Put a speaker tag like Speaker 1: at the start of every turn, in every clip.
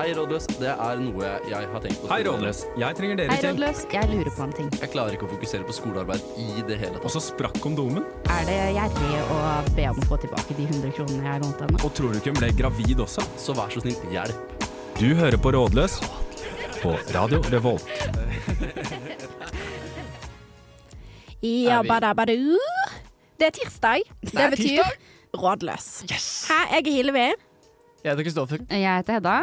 Speaker 1: Hei, rådløs. Det er noe jeg har tenkt på.
Speaker 2: Hei, Rådløs. Jeg trenger
Speaker 3: Hei,
Speaker 2: deres hjelp.
Speaker 3: rådløs. Jeg lurer på en ting.
Speaker 1: Jeg klarer ikke å fokusere på skolearbeid i det hele
Speaker 2: Og
Speaker 1: tatt.
Speaker 2: så sprakk kondomen.
Speaker 3: Er det gjerrig å be om å få tilbake de 100 kronene jeg lånte henne?
Speaker 2: Og tror du ikke hun ble gravid også?
Speaker 1: Så vær så snill, hjelp.
Speaker 2: Du hører på Rådløs på Radio Revolt.
Speaker 4: Ja,
Speaker 1: Er vi-
Speaker 4: badabadu. Det er tirsdag. Det,
Speaker 1: er
Speaker 4: betyr
Speaker 1: tirsdag.
Speaker 4: rådløs. Her, jeg er Hillevi,
Speaker 5: Jeg heter Kristoffer,
Speaker 3: Jeg heter Hedda.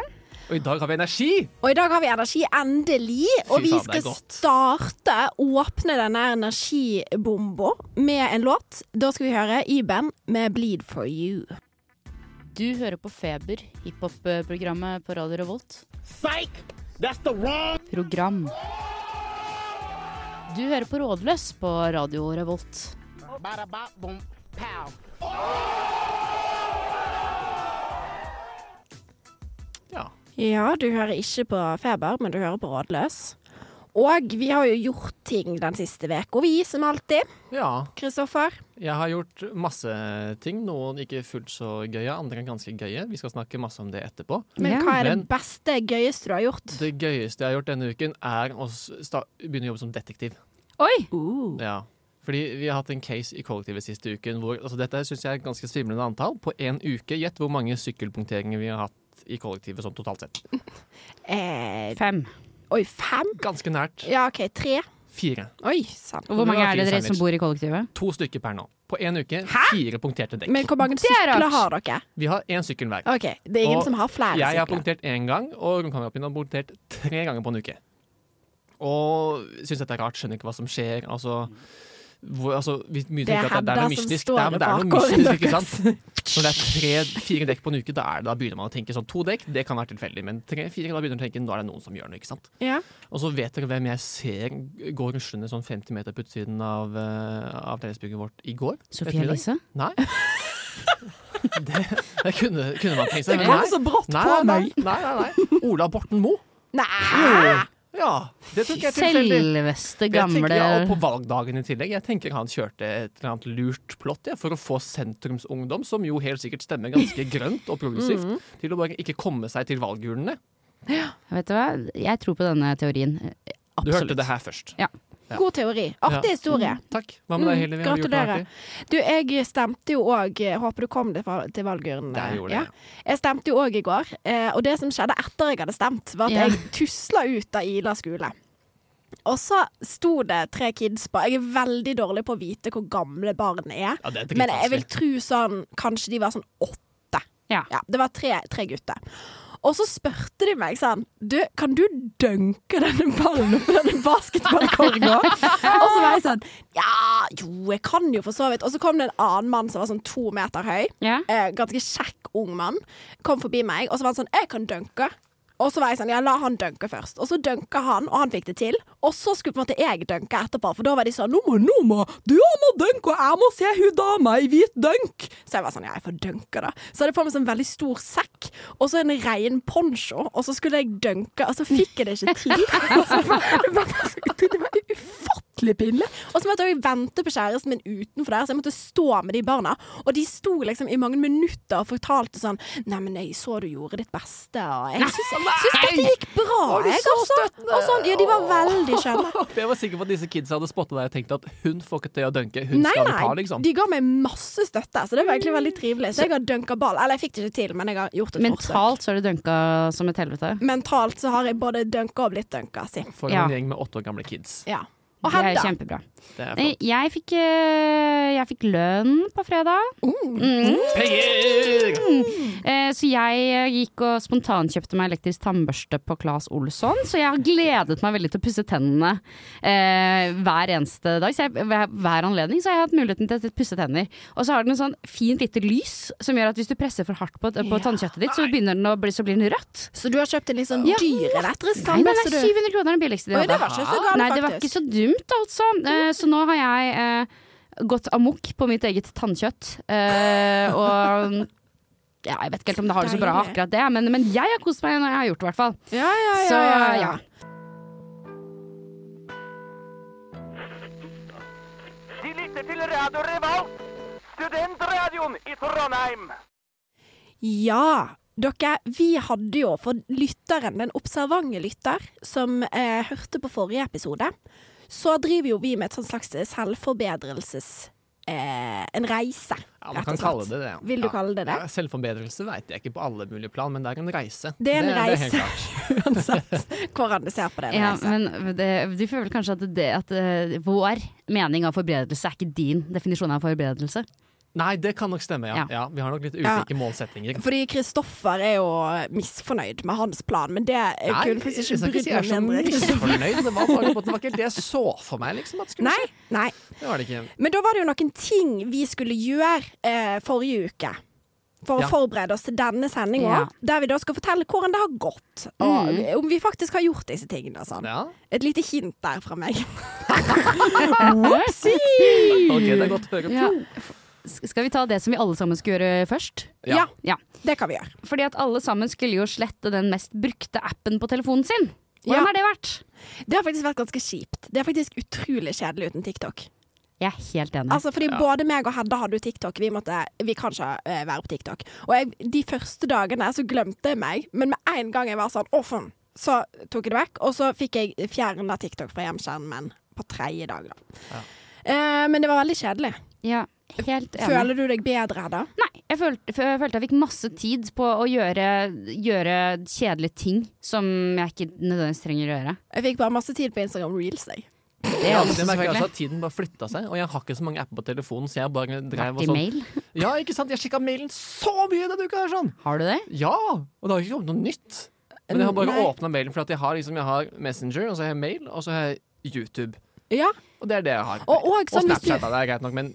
Speaker 5: og i dag har vi energi!
Speaker 4: og i dag har vi energi endelig. Og
Speaker 5: faen,
Speaker 4: vi
Speaker 5: det er
Speaker 4: skal
Speaker 5: godt.
Speaker 4: starte, åpne denne energibomba med en låt. Da skal vi høre Iben med 'Bleed for you'.
Speaker 3: Du hører på Feber, hiphop-programmet på Radio Revolt.
Speaker 6: Psych! That's the wrong.
Speaker 3: Program. Du hører på Rådløs på Radio Revolt.
Speaker 6: Bada bop boom pow.
Speaker 4: Ja, du hører ikke på Feber, men du hører på Rådløs. Og vi har jo gjort ting den siste uka, vi, som alltid.
Speaker 5: Ja,
Speaker 4: Kristoffer.
Speaker 5: jeg har gjort masse ting. Noen ikke fullt så gøye, andre ganske gøye. Vi skal snakke masse om det etterpå.
Speaker 4: Men
Speaker 3: Ja.
Speaker 4: hva er det
Speaker 5: Men-
Speaker 4: beste, gøyeste du har gjort?
Speaker 5: Det gøyeste jeg har gjort denne uken, er å s- sta- begynne å jobbe som detektiv.
Speaker 3: Oi!
Speaker 5: Ja. Fordi vi har hatt en case i kollektivet siste uken hvor altså Dette syns jeg er et ganske svimlende antall. På én uke, gjett hvor mange sykkelpunkteringer vi har hatt i kollektivet sånn totalt sett.
Speaker 4: Eh,
Speaker 3: Fem.
Speaker 4: oi, fem?
Speaker 5: Ganske nært
Speaker 4: Ja, OK, tre.
Speaker 5: fire.
Speaker 4: Oi, sant.
Speaker 3: Og hvor
Speaker 5: Det
Speaker 3: mange
Speaker 5: var
Speaker 3: er det
Speaker 5: fin
Speaker 3: dere som
Speaker 5: sandwich.
Speaker 3: bor i kollektivet?
Speaker 5: To stykker per nå. På én uke, fire punkterte dekk.
Speaker 4: Men hvor mange
Speaker 3: Det er rart.
Speaker 4: sykler har dere?
Speaker 5: Vi har én sykkel hver.
Speaker 4: Ok, Det er ingen
Speaker 5: Og
Speaker 4: som har flere
Speaker 5: Jeg har
Speaker 4: sykler.
Speaker 5: punktert én gang, og romkameraten min har punktert tre ganger på en uke. Og syns dette er rart, skjønner ikke hva som skjer. Altså, hvor, altså vi, mye
Speaker 4: Det er
Speaker 5: tenker at det, det er
Speaker 4: Hedda
Speaker 5: noe
Speaker 4: som
Speaker 5: mystisk.
Speaker 4: står
Speaker 5: Det er, men det er
Speaker 4: bak
Speaker 5: noe
Speaker 4: håret
Speaker 5: mystisk, ikke sant? Når det er tre, fire dekk på en uke, da, er, det- da begynner man å tenke sånn to dekk, det kan være tilfeldig, men tre-fire, da begynner man å tenke nå er det noen som gjør noe, ikke sant.
Speaker 4: Ja.
Speaker 5: Og så vet dere hvem jeg ser gå ruslende sånn 50 meter på utsiden av, uh, av fellesbygget vårt i går?
Speaker 3: Sofie
Speaker 5: Ettermiddag?
Speaker 3: Elise?
Speaker 5: Nei. Det, det kunne, kunne man tenkt seg.
Speaker 4: Det
Speaker 5: men
Speaker 4: kom
Speaker 5: nei.
Speaker 4: så brått
Speaker 5: Nei,
Speaker 4: på
Speaker 5: nei,
Speaker 4: meg.
Speaker 5: nei, nei, nei. Ola Borten Moe.
Speaker 4: Nei!
Speaker 5: Ja, det tok jeg tilfeldig.
Speaker 3: Selveste
Speaker 5: Jeg tenker,
Speaker 3: gamle
Speaker 5: ja, og på valgdagen i tillegg. Jeg tenker han kjørte et eller annet lurt plott ja, for å få sentrumsungdom, som jo helt sikkert stemmer ganske grønt og progressivt,
Speaker 4: Mm.
Speaker 5: til å bare ikke komme seg til valgurnene.
Speaker 3: Vet du hva, jeg tror på denne teorien.
Speaker 5: Du
Speaker 3: Absolutt.
Speaker 5: hørte det her først. Ja.
Speaker 4: God teori. Artig
Speaker 5: Ja. Mm.
Speaker 4: historie.
Speaker 5: Takk. Hva med deg, Hillevi? Har du gjort noe
Speaker 4: Mm, gratulerer.
Speaker 5: artig?
Speaker 4: Du, jeg stemte jo òg Håper du kom deg fra- til valgurnene.
Speaker 5: Der gjorde
Speaker 4: Ja.
Speaker 5: jeg.
Speaker 4: Jeg stemte jo òg i går, eh, og det som skjedde etter jeg hadde stemt, var at
Speaker 3: Ja.
Speaker 4: jeg tusla ut av Ila skole. Og så sto det tre kids på. Jeg er veldig dårlig på å vite hvor gamle barn er,
Speaker 5: Ja, det er
Speaker 4: men jeg vil
Speaker 5: dritvanskelig.
Speaker 4: tro sånn Kanskje de var sånn åtte.
Speaker 3: Ja.
Speaker 4: Ja, det var tre, tre gutter. Og så spurte de meg sånn Du, kan du dunke denne ballen oppi denne basketballkorga? og så var jeg sånn Ja, jo, jeg kan jo for så vidt. Og så kom det en annen mann som var sånn to meter høy.
Speaker 3: Ja.
Speaker 4: Eh, ganske kjekk ung mann. Kom forbi meg, og så var han sånn Jeg kan dunke. Og så var jeg sånn, ja, la han dunke først. Og så dunka han, og han fikk det til. Og så skulle på en måte jeg dunke etterpå, for da var de sånn Nå må, nå må, du må dunke, og jeg må se hun dama i hvit dunk. Så jeg var sånn, ja, jeg får dunke, da. Så hadde jeg på meg sånn veldig stor sekk, og så en rein poncho, og så skulle jeg dunke, og så fikk jeg det ikke til. Og så var- det var bare så- det var ufattelig pinlig. Og så måtte jeg vente på kjæresten min utenfor der, så jeg måtte stå med de barna. Og de sto liksom i mange minutter og fortalte sånn Nei, men jeg så du gjorde ditt beste, og jeg syns, syns dette gikk bra, jeg, altså. Og sånn, ja, de var veldig skjønne.
Speaker 5: Jeg var sikker på at disse kidsa hadde spotta deg og tenkt at hun får ikke til å dunke, hun
Speaker 4: Nei,
Speaker 5: skal vi
Speaker 4: nei,
Speaker 5: ta, liksom.
Speaker 4: de ga meg masse støtte, så det var egentlig veldig trivelig. Så jeg har dunka ball. Eller jeg fikk det ikke til, men jeg har gjort et forsøk.
Speaker 3: Mentalt så har du dunka som et helvete.
Speaker 4: Mentalt så har jeg både dunka og blitt dunka, si.
Speaker 5: For
Speaker 3: Ja.
Speaker 5: en gjeng med åtte år gamle kids.
Speaker 4: Ja. Og
Speaker 3: Det er
Speaker 4: Hedda.
Speaker 3: kjempebra.
Speaker 5: Det er
Speaker 3: Nei,
Speaker 5: flott.
Speaker 3: Jeg fikk, eh, jeg fikk lønn på fredag.
Speaker 5: Penger!
Speaker 3: Eh, Så jeg eh, gikk og spontankjøpte meg elektrisk tannbørste på Claes Olsson. Så jeg har gledet meg veldig til å pusse tennene eh, hver eneste dag. Så jeg, hver hver anledning så har jeg hatt muligheten til å pusse tenner. Og så har den en sånn fint lite lys som gjør at hvis du presser for hardt på, på tannkjøttet ditt, så, begynner den å bli, så blir den rødt.
Speaker 4: Så du har kjøpt en litt sånn
Speaker 3: Ja.
Speaker 4: dyr elektrisk
Speaker 3: Nei, den er
Speaker 4: tannbørste, du?
Speaker 3: 700 kroner den billigste de
Speaker 4: Oi, det
Speaker 3: hadde.
Speaker 4: var ikke så galt,
Speaker 3: Nei, det var ikke
Speaker 4: faktisk.
Speaker 3: så dumt, altså. Eh, Så nå har jeg eh, gått amok på mitt eget tannkjøtt. Eh, og ja, jeg vet ikke helt om det har det så bra
Speaker 4: Deilig.
Speaker 3: akkurat det, men, men jeg har kost meg når jeg har gjort det, i hvert fall.
Speaker 4: Ja, ja, ja.
Speaker 3: Så
Speaker 4: ja, ja.
Speaker 3: ja.
Speaker 7: De lytter til Radio Revolt, studentradioen i Trondheim.
Speaker 4: Ja, Dere, vi hadde jo for lytteren, den observante lytter, som eh, hørte på forrige episode, så driver jo vi med et sånt slags selvforbedrelses... Eh, en reise,
Speaker 5: Ja, man kan kalle det det. Ja.
Speaker 4: Vil du
Speaker 5: Ja.
Speaker 4: kalle det det?
Speaker 5: Ja, selvforbedrelse vet jeg ikke på alle mulige plan, men det er en reise.
Speaker 4: Det er en
Speaker 5: helt
Speaker 4: reise.
Speaker 5: klart.
Speaker 4: Uansett hvordan du ser på det. en
Speaker 3: Ja,
Speaker 4: reise.
Speaker 3: men det, du føler vel kanskje at, det, at eh, vår mening av forberedelse er ikke din definisjon av forberedelse?
Speaker 5: Nei, det kan nok stemme, ja.
Speaker 3: Ja.
Speaker 5: ja. vi har nok litt ulike målsettinger.
Speaker 4: Fordi Kristoffer er jo misfornøyd med hans plan, men det jeg
Speaker 5: Nei,
Speaker 4: kunne faktisk
Speaker 5: jeg
Speaker 4: ikke
Speaker 5: skal
Speaker 4: brydd
Speaker 5: si jeg er
Speaker 4: meg
Speaker 5: så
Speaker 4: mindre. Kristoffer.
Speaker 5: misfornøyd. Det var bare på at det var ikke helt det jeg så for meg, liksom. At skulle
Speaker 4: Nei, nei.
Speaker 5: skje. Det var det ikke.
Speaker 4: Men da var det jo noen ting vi skulle gjøre eh, forrige uke. For
Speaker 5: Ja.
Speaker 4: å forberede oss til denne sendinga,
Speaker 3: Ja.
Speaker 4: der vi da skal fortelle hvordan det har gått. Og om vi faktisk har gjort disse tingene. og Sånn.
Speaker 5: Ja.
Speaker 4: Et lite hint der fra meg.
Speaker 5: Ok, det er godt å høre.
Speaker 3: Ja. S- Skal vi ta det som vi alle sammen skulle gjøre først?
Speaker 4: Ja.
Speaker 3: Ja.
Speaker 4: det kan vi gjøre.
Speaker 3: Fordi at alle sammen skulle jo slette den mest brukte appen på telefonen sin. Hvordan
Speaker 4: Ja.
Speaker 3: har det vært?
Speaker 4: Det har faktisk vært ganske kjipt. Det er faktisk utrolig kjedelig uten TikTok.
Speaker 3: Jeg er helt enig.
Speaker 4: Altså, fordi Både meg og Hedda hadde jo TikTok. Vi, måtte, vi kan ikke eh, være på TikTok. Og jeg, De første dagene så glemte jeg meg, men med en gang jeg var sånn Å, faen! Så tok jeg det vekk, og så fikk jeg fjerna TikTok fra hjemskjermen min på tredje dag. da. Eh, men det var veldig kjedelig.
Speaker 3: ja, helt enig.
Speaker 4: Føler du deg bedre, Hedda?
Speaker 3: Nei, jeg følte, f- jeg følte jeg fikk masse tid på å gjøre, gjøre kjedelige ting som jeg ikke nødvendigvis trenger å gjøre.
Speaker 4: Jeg fikk bare masse tid på Instagram Reels. Jeg.
Speaker 3: Det
Speaker 5: Ja,
Speaker 3: er
Speaker 5: det
Speaker 3: også
Speaker 5: merker jeg altså
Speaker 3: selvfølgelig.
Speaker 5: at Tiden bare flytta seg, og jeg har ikke så mange apper på telefonen. Så jeg bare drev og
Speaker 3: Vært i
Speaker 5: sånn
Speaker 3: mail.
Speaker 5: Ja, ikke sant? Jeg sjekka mailen så mye denne uka! her sånn
Speaker 3: Har du det?
Speaker 5: Ja! Og det har ikke kommet noe nytt. Men jeg har bare
Speaker 4: Nei.
Speaker 5: åpna mailen, for at jeg har, liksom, jeg har Messenger, og så har jeg mail, og så har jeg YouTube.
Speaker 4: Ja,
Speaker 5: Og det er det jeg har.
Speaker 4: og, og, sånn, hvis
Speaker 5: Snapchat
Speaker 4: du,
Speaker 5: da, det er greit nok, men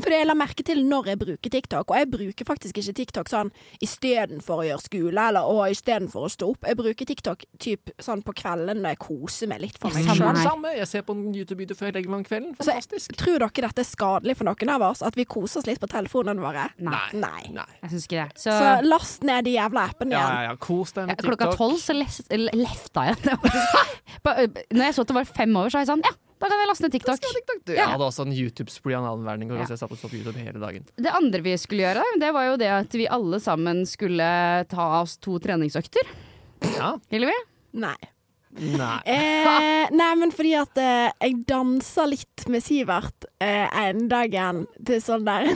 Speaker 4: for jeg la merke til når jeg bruker TikTok, og jeg bruker faktisk ikke TikTok sånn istedenfor å gjøre skole eller å, istedenfor å stå opp. Jeg bruker TikTok typ, sånn på kvelden når jeg koser meg litt for meg
Speaker 3: Samme
Speaker 4: sjøl.
Speaker 5: Samme,
Speaker 3: her.
Speaker 5: samme. Jeg ser på en YouTube-video før jeg legger meg om kvelden.
Speaker 4: Altså,
Speaker 5: Fantastisk.
Speaker 4: Tror dere dette er skadelig for noen av oss? At vi koser oss litt på telefonene våre?
Speaker 3: Nei.
Speaker 4: Nei.
Speaker 5: Nei.
Speaker 3: Jeg syns ikke det. Så,
Speaker 4: Så last ned de jævla appene
Speaker 5: Ja,
Speaker 4: igjen.
Speaker 5: ja, ja. Kos deg
Speaker 3: ja,
Speaker 5: med TikTok.
Speaker 3: klokka tolv så les- le- lefta jeg. Det var faktisk- Ba- Når jeg så at det var fem over, så var jeg sånn ja, da kan jeg laste ned TikTok.
Speaker 5: Du, Jeg hadde også en YouTube-spree av en annen verden.
Speaker 3: Ja.
Speaker 5: Ja. Jeg satt og så på YouTube hele dagen.
Speaker 3: Det andre vi skulle gjøre, det var jo det at vi alle sammen skulle ta oss to treningsøkter.
Speaker 5: Ja.
Speaker 3: Hillevi?
Speaker 4: Nei.
Speaker 5: Nei.
Speaker 4: Eh, nei, men fordi at eh, jeg danser litt med Sivert eh, en dagen til sånn der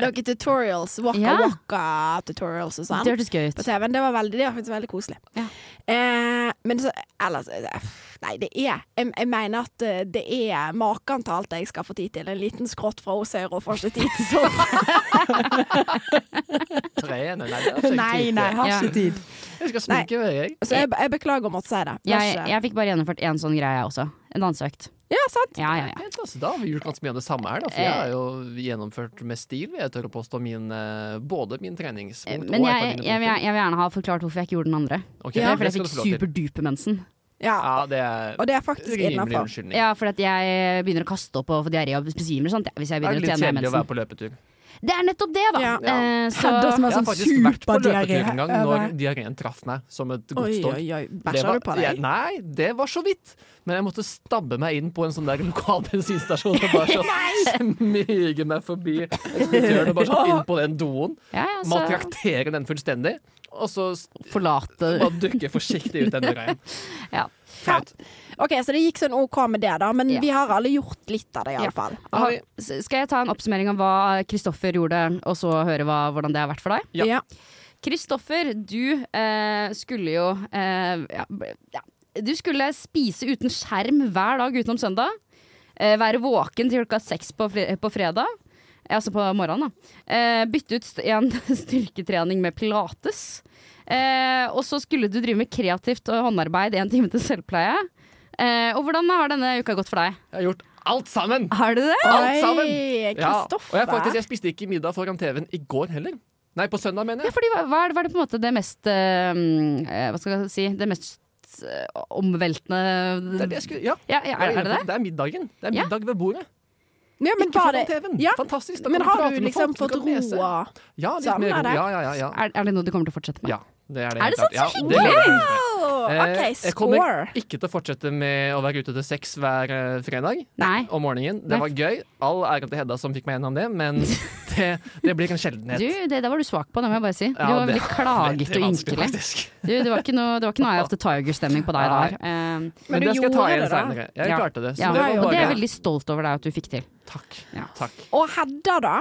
Speaker 4: Noen tutorials.
Speaker 3: Ja.
Speaker 4: Waka-waka-tutorials og sånn.
Speaker 3: Det hørtes gøy ut.
Speaker 4: på TV-en. Det var veldig, det var faktisk veldig koselig.
Speaker 3: Ja.
Speaker 4: Eh, men så, ellers eh, Nei, det er Jeg, jeg mener at eh, det er maken til alt jeg skal få tid til. En liten skrått fra Osøyro får ikke tid til sånt.
Speaker 5: Trene, nei, det er ikke tid til.
Speaker 3: har ikke
Speaker 4: tid.
Speaker 5: Jeg skal sminke meg, jeg.
Speaker 3: Altså,
Speaker 4: Så jeg, jeg beklager om å måtte si det. Det er
Speaker 3: Jeg,
Speaker 4: ikke-
Speaker 3: jeg fikk bare gjennomført én sånn greie, jeg også. En danseøkt.
Speaker 4: ja, sant?
Speaker 3: Ja, ja, ja.
Speaker 5: Helt, altså, da har vi gjort ganske mye av det samme her. Da, for jeg har jo gjennomført med stil, jeg tør å påstå, min, eh, både min treningspunkt
Speaker 3: Eh, Men
Speaker 5: og
Speaker 3: jeg,
Speaker 5: et
Speaker 3: jeg,
Speaker 5: av
Speaker 3: jeg,
Speaker 5: mine
Speaker 3: vil- jeg vil gjerne ha forklart hvorfor jeg ikke gjorde den andre.
Speaker 5: Ok,
Speaker 3: Det er fordi jeg
Speaker 5: det skal
Speaker 3: fikk
Speaker 5: du få lov til.
Speaker 3: superdupe mensen.
Speaker 4: Ja.
Speaker 5: Ja, det er
Speaker 4: Og det er faktisk
Speaker 5: rimelig
Speaker 4: innafor.
Speaker 5: unnskyldning.
Speaker 3: Ja, fordi at jeg eh, begynner å kaste opp og få diaré og besvimer og sånt. jeg, Hvis jeg
Speaker 5: Det er
Speaker 3: begynner å
Speaker 5: litt
Speaker 3: trene med
Speaker 5: kjedelig å være
Speaker 3: mensen.
Speaker 5: på løpetur.
Speaker 3: Det er nettopp det, da.
Speaker 4: Ja.
Speaker 3: Eh,
Speaker 4: Hedda som
Speaker 3: så
Speaker 4: er
Speaker 5: Jeg har
Speaker 4: sånn
Speaker 5: faktisk vært på løpetur en gang når
Speaker 4: superdiaré.
Speaker 5: diareen traff meg som et
Speaker 4: Oi,
Speaker 5: godstog.
Speaker 4: oi, oi.
Speaker 5: Det
Speaker 4: Bæsja
Speaker 5: var-
Speaker 4: du på
Speaker 5: Ja,
Speaker 4: deg?
Speaker 5: nei, det var så vidt. Men jeg måtte stabbe meg inn på en sånn der lokal bensinstasjon og bare så smyge meg forbi ekspeditøren og bare så inn på den doen.
Speaker 3: Ja, ja, så-
Speaker 5: Maltraktere den fullstendig. Og så s-
Speaker 3: forlate
Speaker 5: bare dukke forsiktig ut den døra igjen.
Speaker 3: ja.
Speaker 5: Flaut.
Speaker 4: OK, så det gikk sånn OK med det, da. Men
Speaker 3: Ja.
Speaker 4: vi har alle gjort litt av det,
Speaker 3: Ja.
Speaker 4: iallfall.
Speaker 5: Da har vi-
Speaker 3: S- Skal jeg ta en oppsummering av hva Kristoffer gjorde, og så høre hva, hvordan det har vært for deg?
Speaker 5: Ja.
Speaker 4: Ja.
Speaker 3: Kristoffer, du eh, skulle jo eh, ja, b- ja, Du skulle spise uten skjerm hver dag utenom søndag. Eh, være våken til klokka seks på, fre på fredag. Eh, Altså på morgenen, da. Eh, bytte ut st en styrketrening med pilates. Eh, og så skulle du drive med kreativt og håndarbeid en time til selvpleie. Eh, og hvordan har denne uka gått for deg?
Speaker 5: Jeg har gjort alt sammen!
Speaker 3: Har du det?
Speaker 5: Alt sammen!
Speaker 4: Oi,
Speaker 5: Ja. Og jeg, faktisk,
Speaker 4: Kristoffer.
Speaker 5: jeg spiste ikke middag foran TV-en i går heller. Nei, på søndag, mener
Speaker 3: Ja,
Speaker 5: jeg.
Speaker 3: fordi hva, hva er det, hva er det på en måte det mest eh, mm, eh, Hva skal jeg si Det mest eh, omveltende
Speaker 5: Det er det jeg skulle, ja.
Speaker 3: ja, ja, er, er det det?
Speaker 5: Det er middagen. Det er
Speaker 3: Ja.
Speaker 5: middag ved bordet.
Speaker 4: Ja, men
Speaker 5: Ikke
Speaker 4: var
Speaker 5: foran
Speaker 4: det-
Speaker 5: TV-en.
Speaker 4: Ja.
Speaker 5: Fantastisk. Da
Speaker 4: Men
Speaker 5: kan du
Speaker 4: har
Speaker 5: prate
Speaker 4: du
Speaker 5: med
Speaker 4: liksom
Speaker 5: folk,
Speaker 4: fått
Speaker 5: kan lese.
Speaker 4: roa?
Speaker 5: Ja, litt
Speaker 4: Sammen
Speaker 5: mer
Speaker 4: er
Speaker 5: ro.
Speaker 4: det.
Speaker 5: Ja, ja, ja, ja.
Speaker 3: Er, er det noe du kommer til å fortsette med?
Speaker 5: Ja, det er det.
Speaker 3: Er det
Speaker 4: sånn
Speaker 3: sant?
Speaker 5: helt klart.
Speaker 3: Så
Speaker 5: Ja, det gleder jeg meg til.
Speaker 4: OK,
Speaker 5: Eh, Jeg
Speaker 4: score.
Speaker 5: kommer ikke til å fortsette med å være ute til seks hver eh, fredag
Speaker 3: Nei.
Speaker 5: om morgenen. Det
Speaker 3: Nei.
Speaker 5: var gøy. All ære til Hedda som fikk meg gjennom det, men det, det blir en sjeldenhet.
Speaker 3: Du, det der var du svak på, det må jeg bare si. Du
Speaker 5: Ja,
Speaker 3: var
Speaker 5: det-
Speaker 3: veldig klaget
Speaker 5: Veldig
Speaker 3: og
Speaker 5: vanskelig,
Speaker 3: ynkelig.
Speaker 5: faktisk.
Speaker 3: Du, det var ikke noe, det var ikke noe Eye of the Tiger-stemning på deg der. Eh,
Speaker 5: Men,
Speaker 4: du
Speaker 5: det skal jeg ta
Speaker 4: gjorde
Speaker 5: igjen
Speaker 4: det da.
Speaker 5: seinere. Jeg
Speaker 3: ja.
Speaker 5: klarte det. Så
Speaker 3: Ja,
Speaker 5: det var
Speaker 3: og det er jeg
Speaker 5: bare
Speaker 3: veldig stolt over deg at du fikk til.
Speaker 5: Takk.
Speaker 3: Ja.
Speaker 5: Takk.
Speaker 4: Og Hedda, da.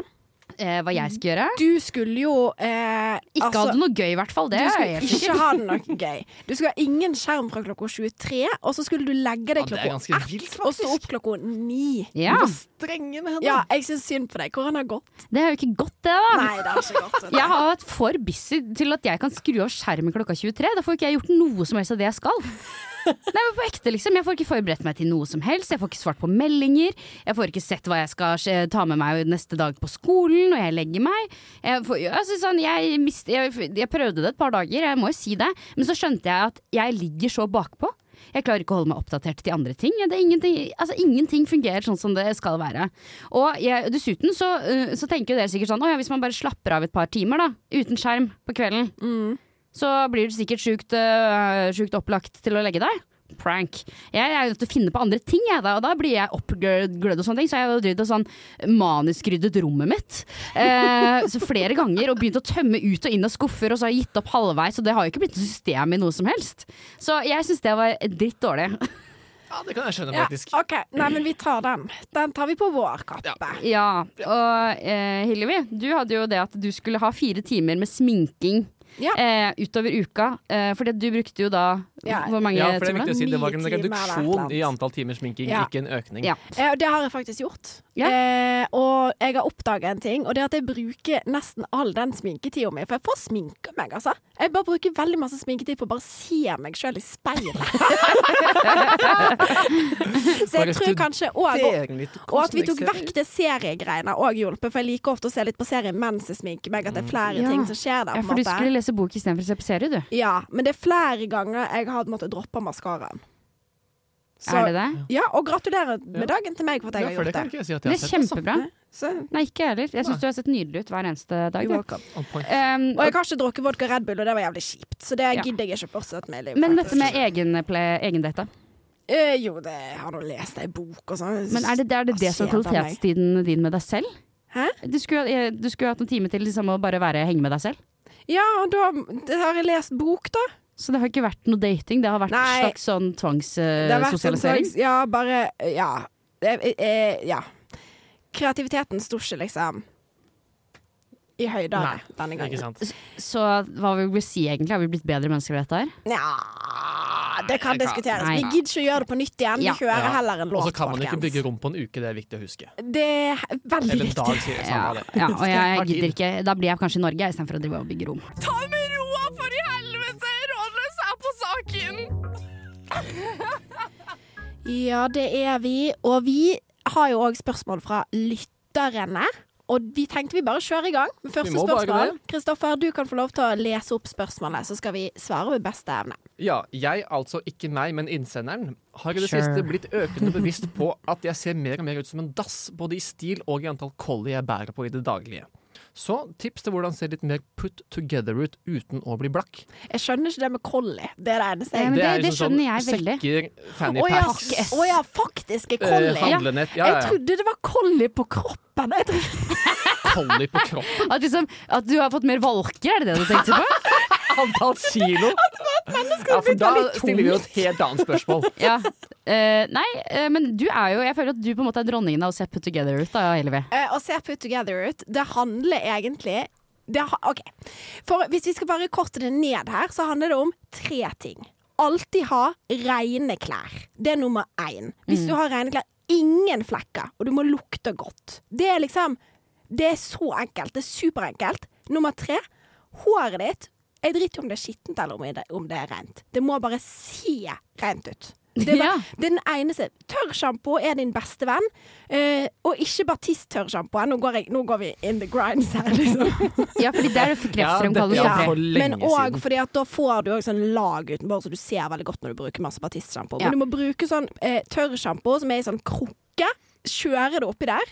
Speaker 3: Eh, hva jeg skal gjøre?
Speaker 4: Du skulle jo eh,
Speaker 3: Ikke
Speaker 4: altså-
Speaker 3: hadde noe gøy, i hvert fall. Det
Speaker 4: Du
Speaker 3: er
Speaker 4: skulle
Speaker 3: helt
Speaker 4: ikke ha det noe gøy. Du skulle ha ingen skjerm fra klokka 23, og så skulle du legge deg
Speaker 5: Ja, det er
Speaker 4: klokka
Speaker 5: ganske vilt,
Speaker 4: ett og stå opp klokka ni.
Speaker 3: Ja,
Speaker 5: Strenge med henne.
Speaker 4: Ja, jeg syns synd på deg. Hvordan har det gått?
Speaker 3: Det er jo ikke godt, det, da.
Speaker 4: Nei, det har ikke gått.
Speaker 3: Jeg har vært for busy til at jeg kan skru av skjermen klokka 23. Da får ikke jeg gjort noe som helst av det jeg skal. Nei, men på ekte liksom Jeg får ikke forberedt meg til noe som helst. Jeg får ikke svart på meldinger. Jeg får ikke sett hva jeg skal skje- ta med meg neste dag på skolen når jeg legger meg. Jeg, får, altså, sånn, jeg, mist, jeg, jeg prøvde det et par dager, jeg må jo si det. Men så skjønte jeg at jeg ligger så bakpå. Jeg klarer ikke å holde meg oppdatert til andre ting. Det er ingenting, altså, ingenting fungerer sånn som det skal være. Og jeg, dessuten så, øh, så tenker jo dere sikkert sånn Å ja, hvis man bare slapper av et par timer, da. Uten skjerm på kvelden. Så blir du sikkert sjukt, øh, sjukt opplagt til å legge deg. Prank. Jeg er nødt til å finne på andre ting, jeg, da. Og da blir jeg oppglødd og sånne ting. Så jeg har jo drevet og sånn manuskryddet rommet mitt eh, så flere ganger. Og begynt å tømme ut og inn av skuffer, og så har jeg gitt opp halvveis. Og det har jo ikke blitt noe system i noe som helst. Så jeg syns det var dritt dårlig.
Speaker 5: Ja, det kan jeg skjønne,
Speaker 4: Ja,
Speaker 5: faktisk.
Speaker 4: OK. Nei, men vi tar den. Den tar vi på vår kappe.
Speaker 3: Ja, og eh, Hillevi, du hadde jo det at du skulle ha fire timer med sminking
Speaker 4: Ja.
Speaker 3: eh, utover uka. Eh, fordi at du brukte jo da
Speaker 4: Ja.
Speaker 3: hvor mange
Speaker 5: Ja, for det er
Speaker 3: timer?
Speaker 5: viktig å si det var
Speaker 4: Ni
Speaker 5: en
Speaker 4: timer eller et eller
Speaker 5: reduksjon
Speaker 4: annet.
Speaker 5: i antall timer sminking,
Speaker 4: Ja.
Speaker 5: ikke en økning.
Speaker 3: Ja.
Speaker 4: Eh, og det har jeg faktisk gjort.
Speaker 3: Ja.
Speaker 4: Eh, og jeg har oppdaga en ting, og det er at jeg bruker nesten all den sminketida mi. For jeg får sminka meg, altså. Jeg bare bruker veldig masse sminketid på å bare se meg sjøl i speilet. Så jeg tror kanskje òg Og at vi tok vekk det seriegreiene òg hjulpet, for jeg liker ofte å se litt på serie mens jeg sminker meg, at det er flere
Speaker 3: Ja.
Speaker 4: ting som skjer der.
Speaker 3: Ja,
Speaker 4: på en
Speaker 3: for du
Speaker 4: måte.
Speaker 3: skulle lese bok istedenfor å se på serie, du.
Speaker 4: Ja, men det er flere ganger jeg har måttet droppe maskaraen. Så-
Speaker 3: Er det det?
Speaker 4: Ja, og gratulerer med
Speaker 5: Ja.
Speaker 4: dagen til meg for at jeg
Speaker 5: Ja, for
Speaker 4: har
Speaker 5: det kan
Speaker 4: gjort det. Sånn, eh,
Speaker 5: ikke jeg si at
Speaker 3: Det
Speaker 5: jeg
Speaker 3: er
Speaker 5: har sett.
Speaker 3: kjempebra.
Speaker 4: Så,
Speaker 3: Nei, ikke jeg heller. Jeg syns du har sett nydelig ut hver eneste dag.
Speaker 4: you're
Speaker 3: du.
Speaker 4: welcome.
Speaker 5: On point.
Speaker 3: Um,
Speaker 4: og jeg har ikke drukket vodka Red Bull, og det var jævlig kjipt. Så det
Speaker 3: Ja.
Speaker 4: gidder jeg ikke fortsette med i livet.
Speaker 3: men
Speaker 4: faktisk.
Speaker 3: dette med e- egenple- egendata,
Speaker 4: Eh, Jo, det jeg har nå lest ei bok og sånn.
Speaker 3: men er det er det, det som er
Speaker 4: Kjeder meg.
Speaker 3: kvalitetstiden din med deg selv?
Speaker 4: Hæ?
Speaker 3: Du skulle, eh, du skulle hatt en time til liksom, å bare være, henge med deg selv.
Speaker 4: Ja, og da det har jeg lest bok, da.
Speaker 3: Så det har ikke vært noe dating, det har vært en
Speaker 4: Nei.
Speaker 3: slags sånn
Speaker 4: Det har vært sånn en
Speaker 3: tvangssosialisering?
Speaker 4: slags- Ja, bare Ja. Det- eh, eh, ja. Kreativiteten sto ikke liksom i høydene denne gangen.
Speaker 5: Ikke sant?
Speaker 3: Så hva vil vi si egentlig? Har vi blitt bedre mennesker ved dette her?
Speaker 4: Nja Det kan diskuteres.
Speaker 3: Nei.
Speaker 4: Vi gidder ikke å gjøre det på nytt igjen.
Speaker 3: Ja.
Speaker 4: Vi hører
Speaker 5: Ja.
Speaker 4: heller en låt,
Speaker 5: Og så kan man ikke
Speaker 4: folkens.
Speaker 5: bygge rom på en uke, det er viktig å huske.
Speaker 4: Det er veldig
Speaker 5: Eller en
Speaker 4: viktig.
Speaker 5: dag, sier jeg. Samme av det.
Speaker 3: Ja, og jeg
Speaker 5: Tar tid.
Speaker 3: gidder ikke. Da blir jeg kanskje i Norge istedenfor å drive og bygge rom.
Speaker 8: Ta med roa, for i helvete! Rådløs er på saken!
Speaker 4: Ja, det er vi. Og vi har jo òg spørsmål fra lytterne. Og vi tenkte vi bare kjører i gang med første
Speaker 5: Vi må bare
Speaker 4: spørsmål.
Speaker 5: det.
Speaker 4: Kristoffer, du kan få lov til å lese opp spørsmålet, så skal vi svare ved beste evne.
Speaker 5: Ja, jeg, altså ikke meg, men innsenderen, har i det
Speaker 3: Sure.
Speaker 5: siste blitt økende bevisst på at jeg ser mer og mer ut som en dass, både i stil og i antall collie jeg bærer på i det daglige. Så tips til hvordan se litt mer put together ut uten å bli blakk.
Speaker 4: Jeg skjønner ikke det med collie. Det er det eneste
Speaker 3: Ja,
Speaker 4: jeg
Speaker 3: men det- det
Speaker 5: liksom
Speaker 3: skjønner jeg veldig.
Speaker 5: Sekker, fanny
Speaker 4: Å ja,
Speaker 5: packs,
Speaker 4: s- å ja, faktisk er
Speaker 5: eh,
Speaker 4: collie.
Speaker 5: handlenett. Ja,
Speaker 4: Jeg
Speaker 5: ja, ja.
Speaker 4: trodde det var collie på kroppen. Jeg trodde,
Speaker 5: Collie på kroppen.
Speaker 3: At, liksom, at du har fått mer valker, er det det du tenkte på?
Speaker 5: Antall kilo. Ja, for da stiller vi jo et helt annet spørsmål.
Speaker 3: Ja. Eh, nei, eh, men du er jo Jeg føler at du på en måte er dronningen av å se put together ut, da, Hillevi.
Speaker 4: Eh, å se put together ut, det handler egentlig det ha, OK. For hvis vi skal bare korte det ned her, så handler det om tre ting. Alltid ha rene klær. Det er nummer én. Hvis du har rene klær, ingen flekker, og du må lukte godt. Det er liksom Det er så enkelt. Det er superenkelt. Nummer tre. Håret ditt Jeg driter i om det er skittent eller om det- om det er rent. Det må bare se rent ut. Det er, bare,
Speaker 3: Ja.
Speaker 4: det er den eneste. Tørrsjampo er din beste venn. Eh, og ikke bare tiss tørrsjampo. Nå, går jeg- nå går vi in the grinds her, liksom.
Speaker 3: Ja, fordi det er det kreftfremkallende
Speaker 5: Ja,
Speaker 3: stoffet.
Speaker 5: for lenge
Speaker 4: Men òg
Speaker 5: siden.
Speaker 4: fordi at da får du òg sånn lag utenfor, så du ser veldig godt når du bruker masse partistsjampo.
Speaker 3: Ja.
Speaker 4: Men du må bruke sånn eh, tørrsjampo som er i sånn krukke. Kjøre det oppi der.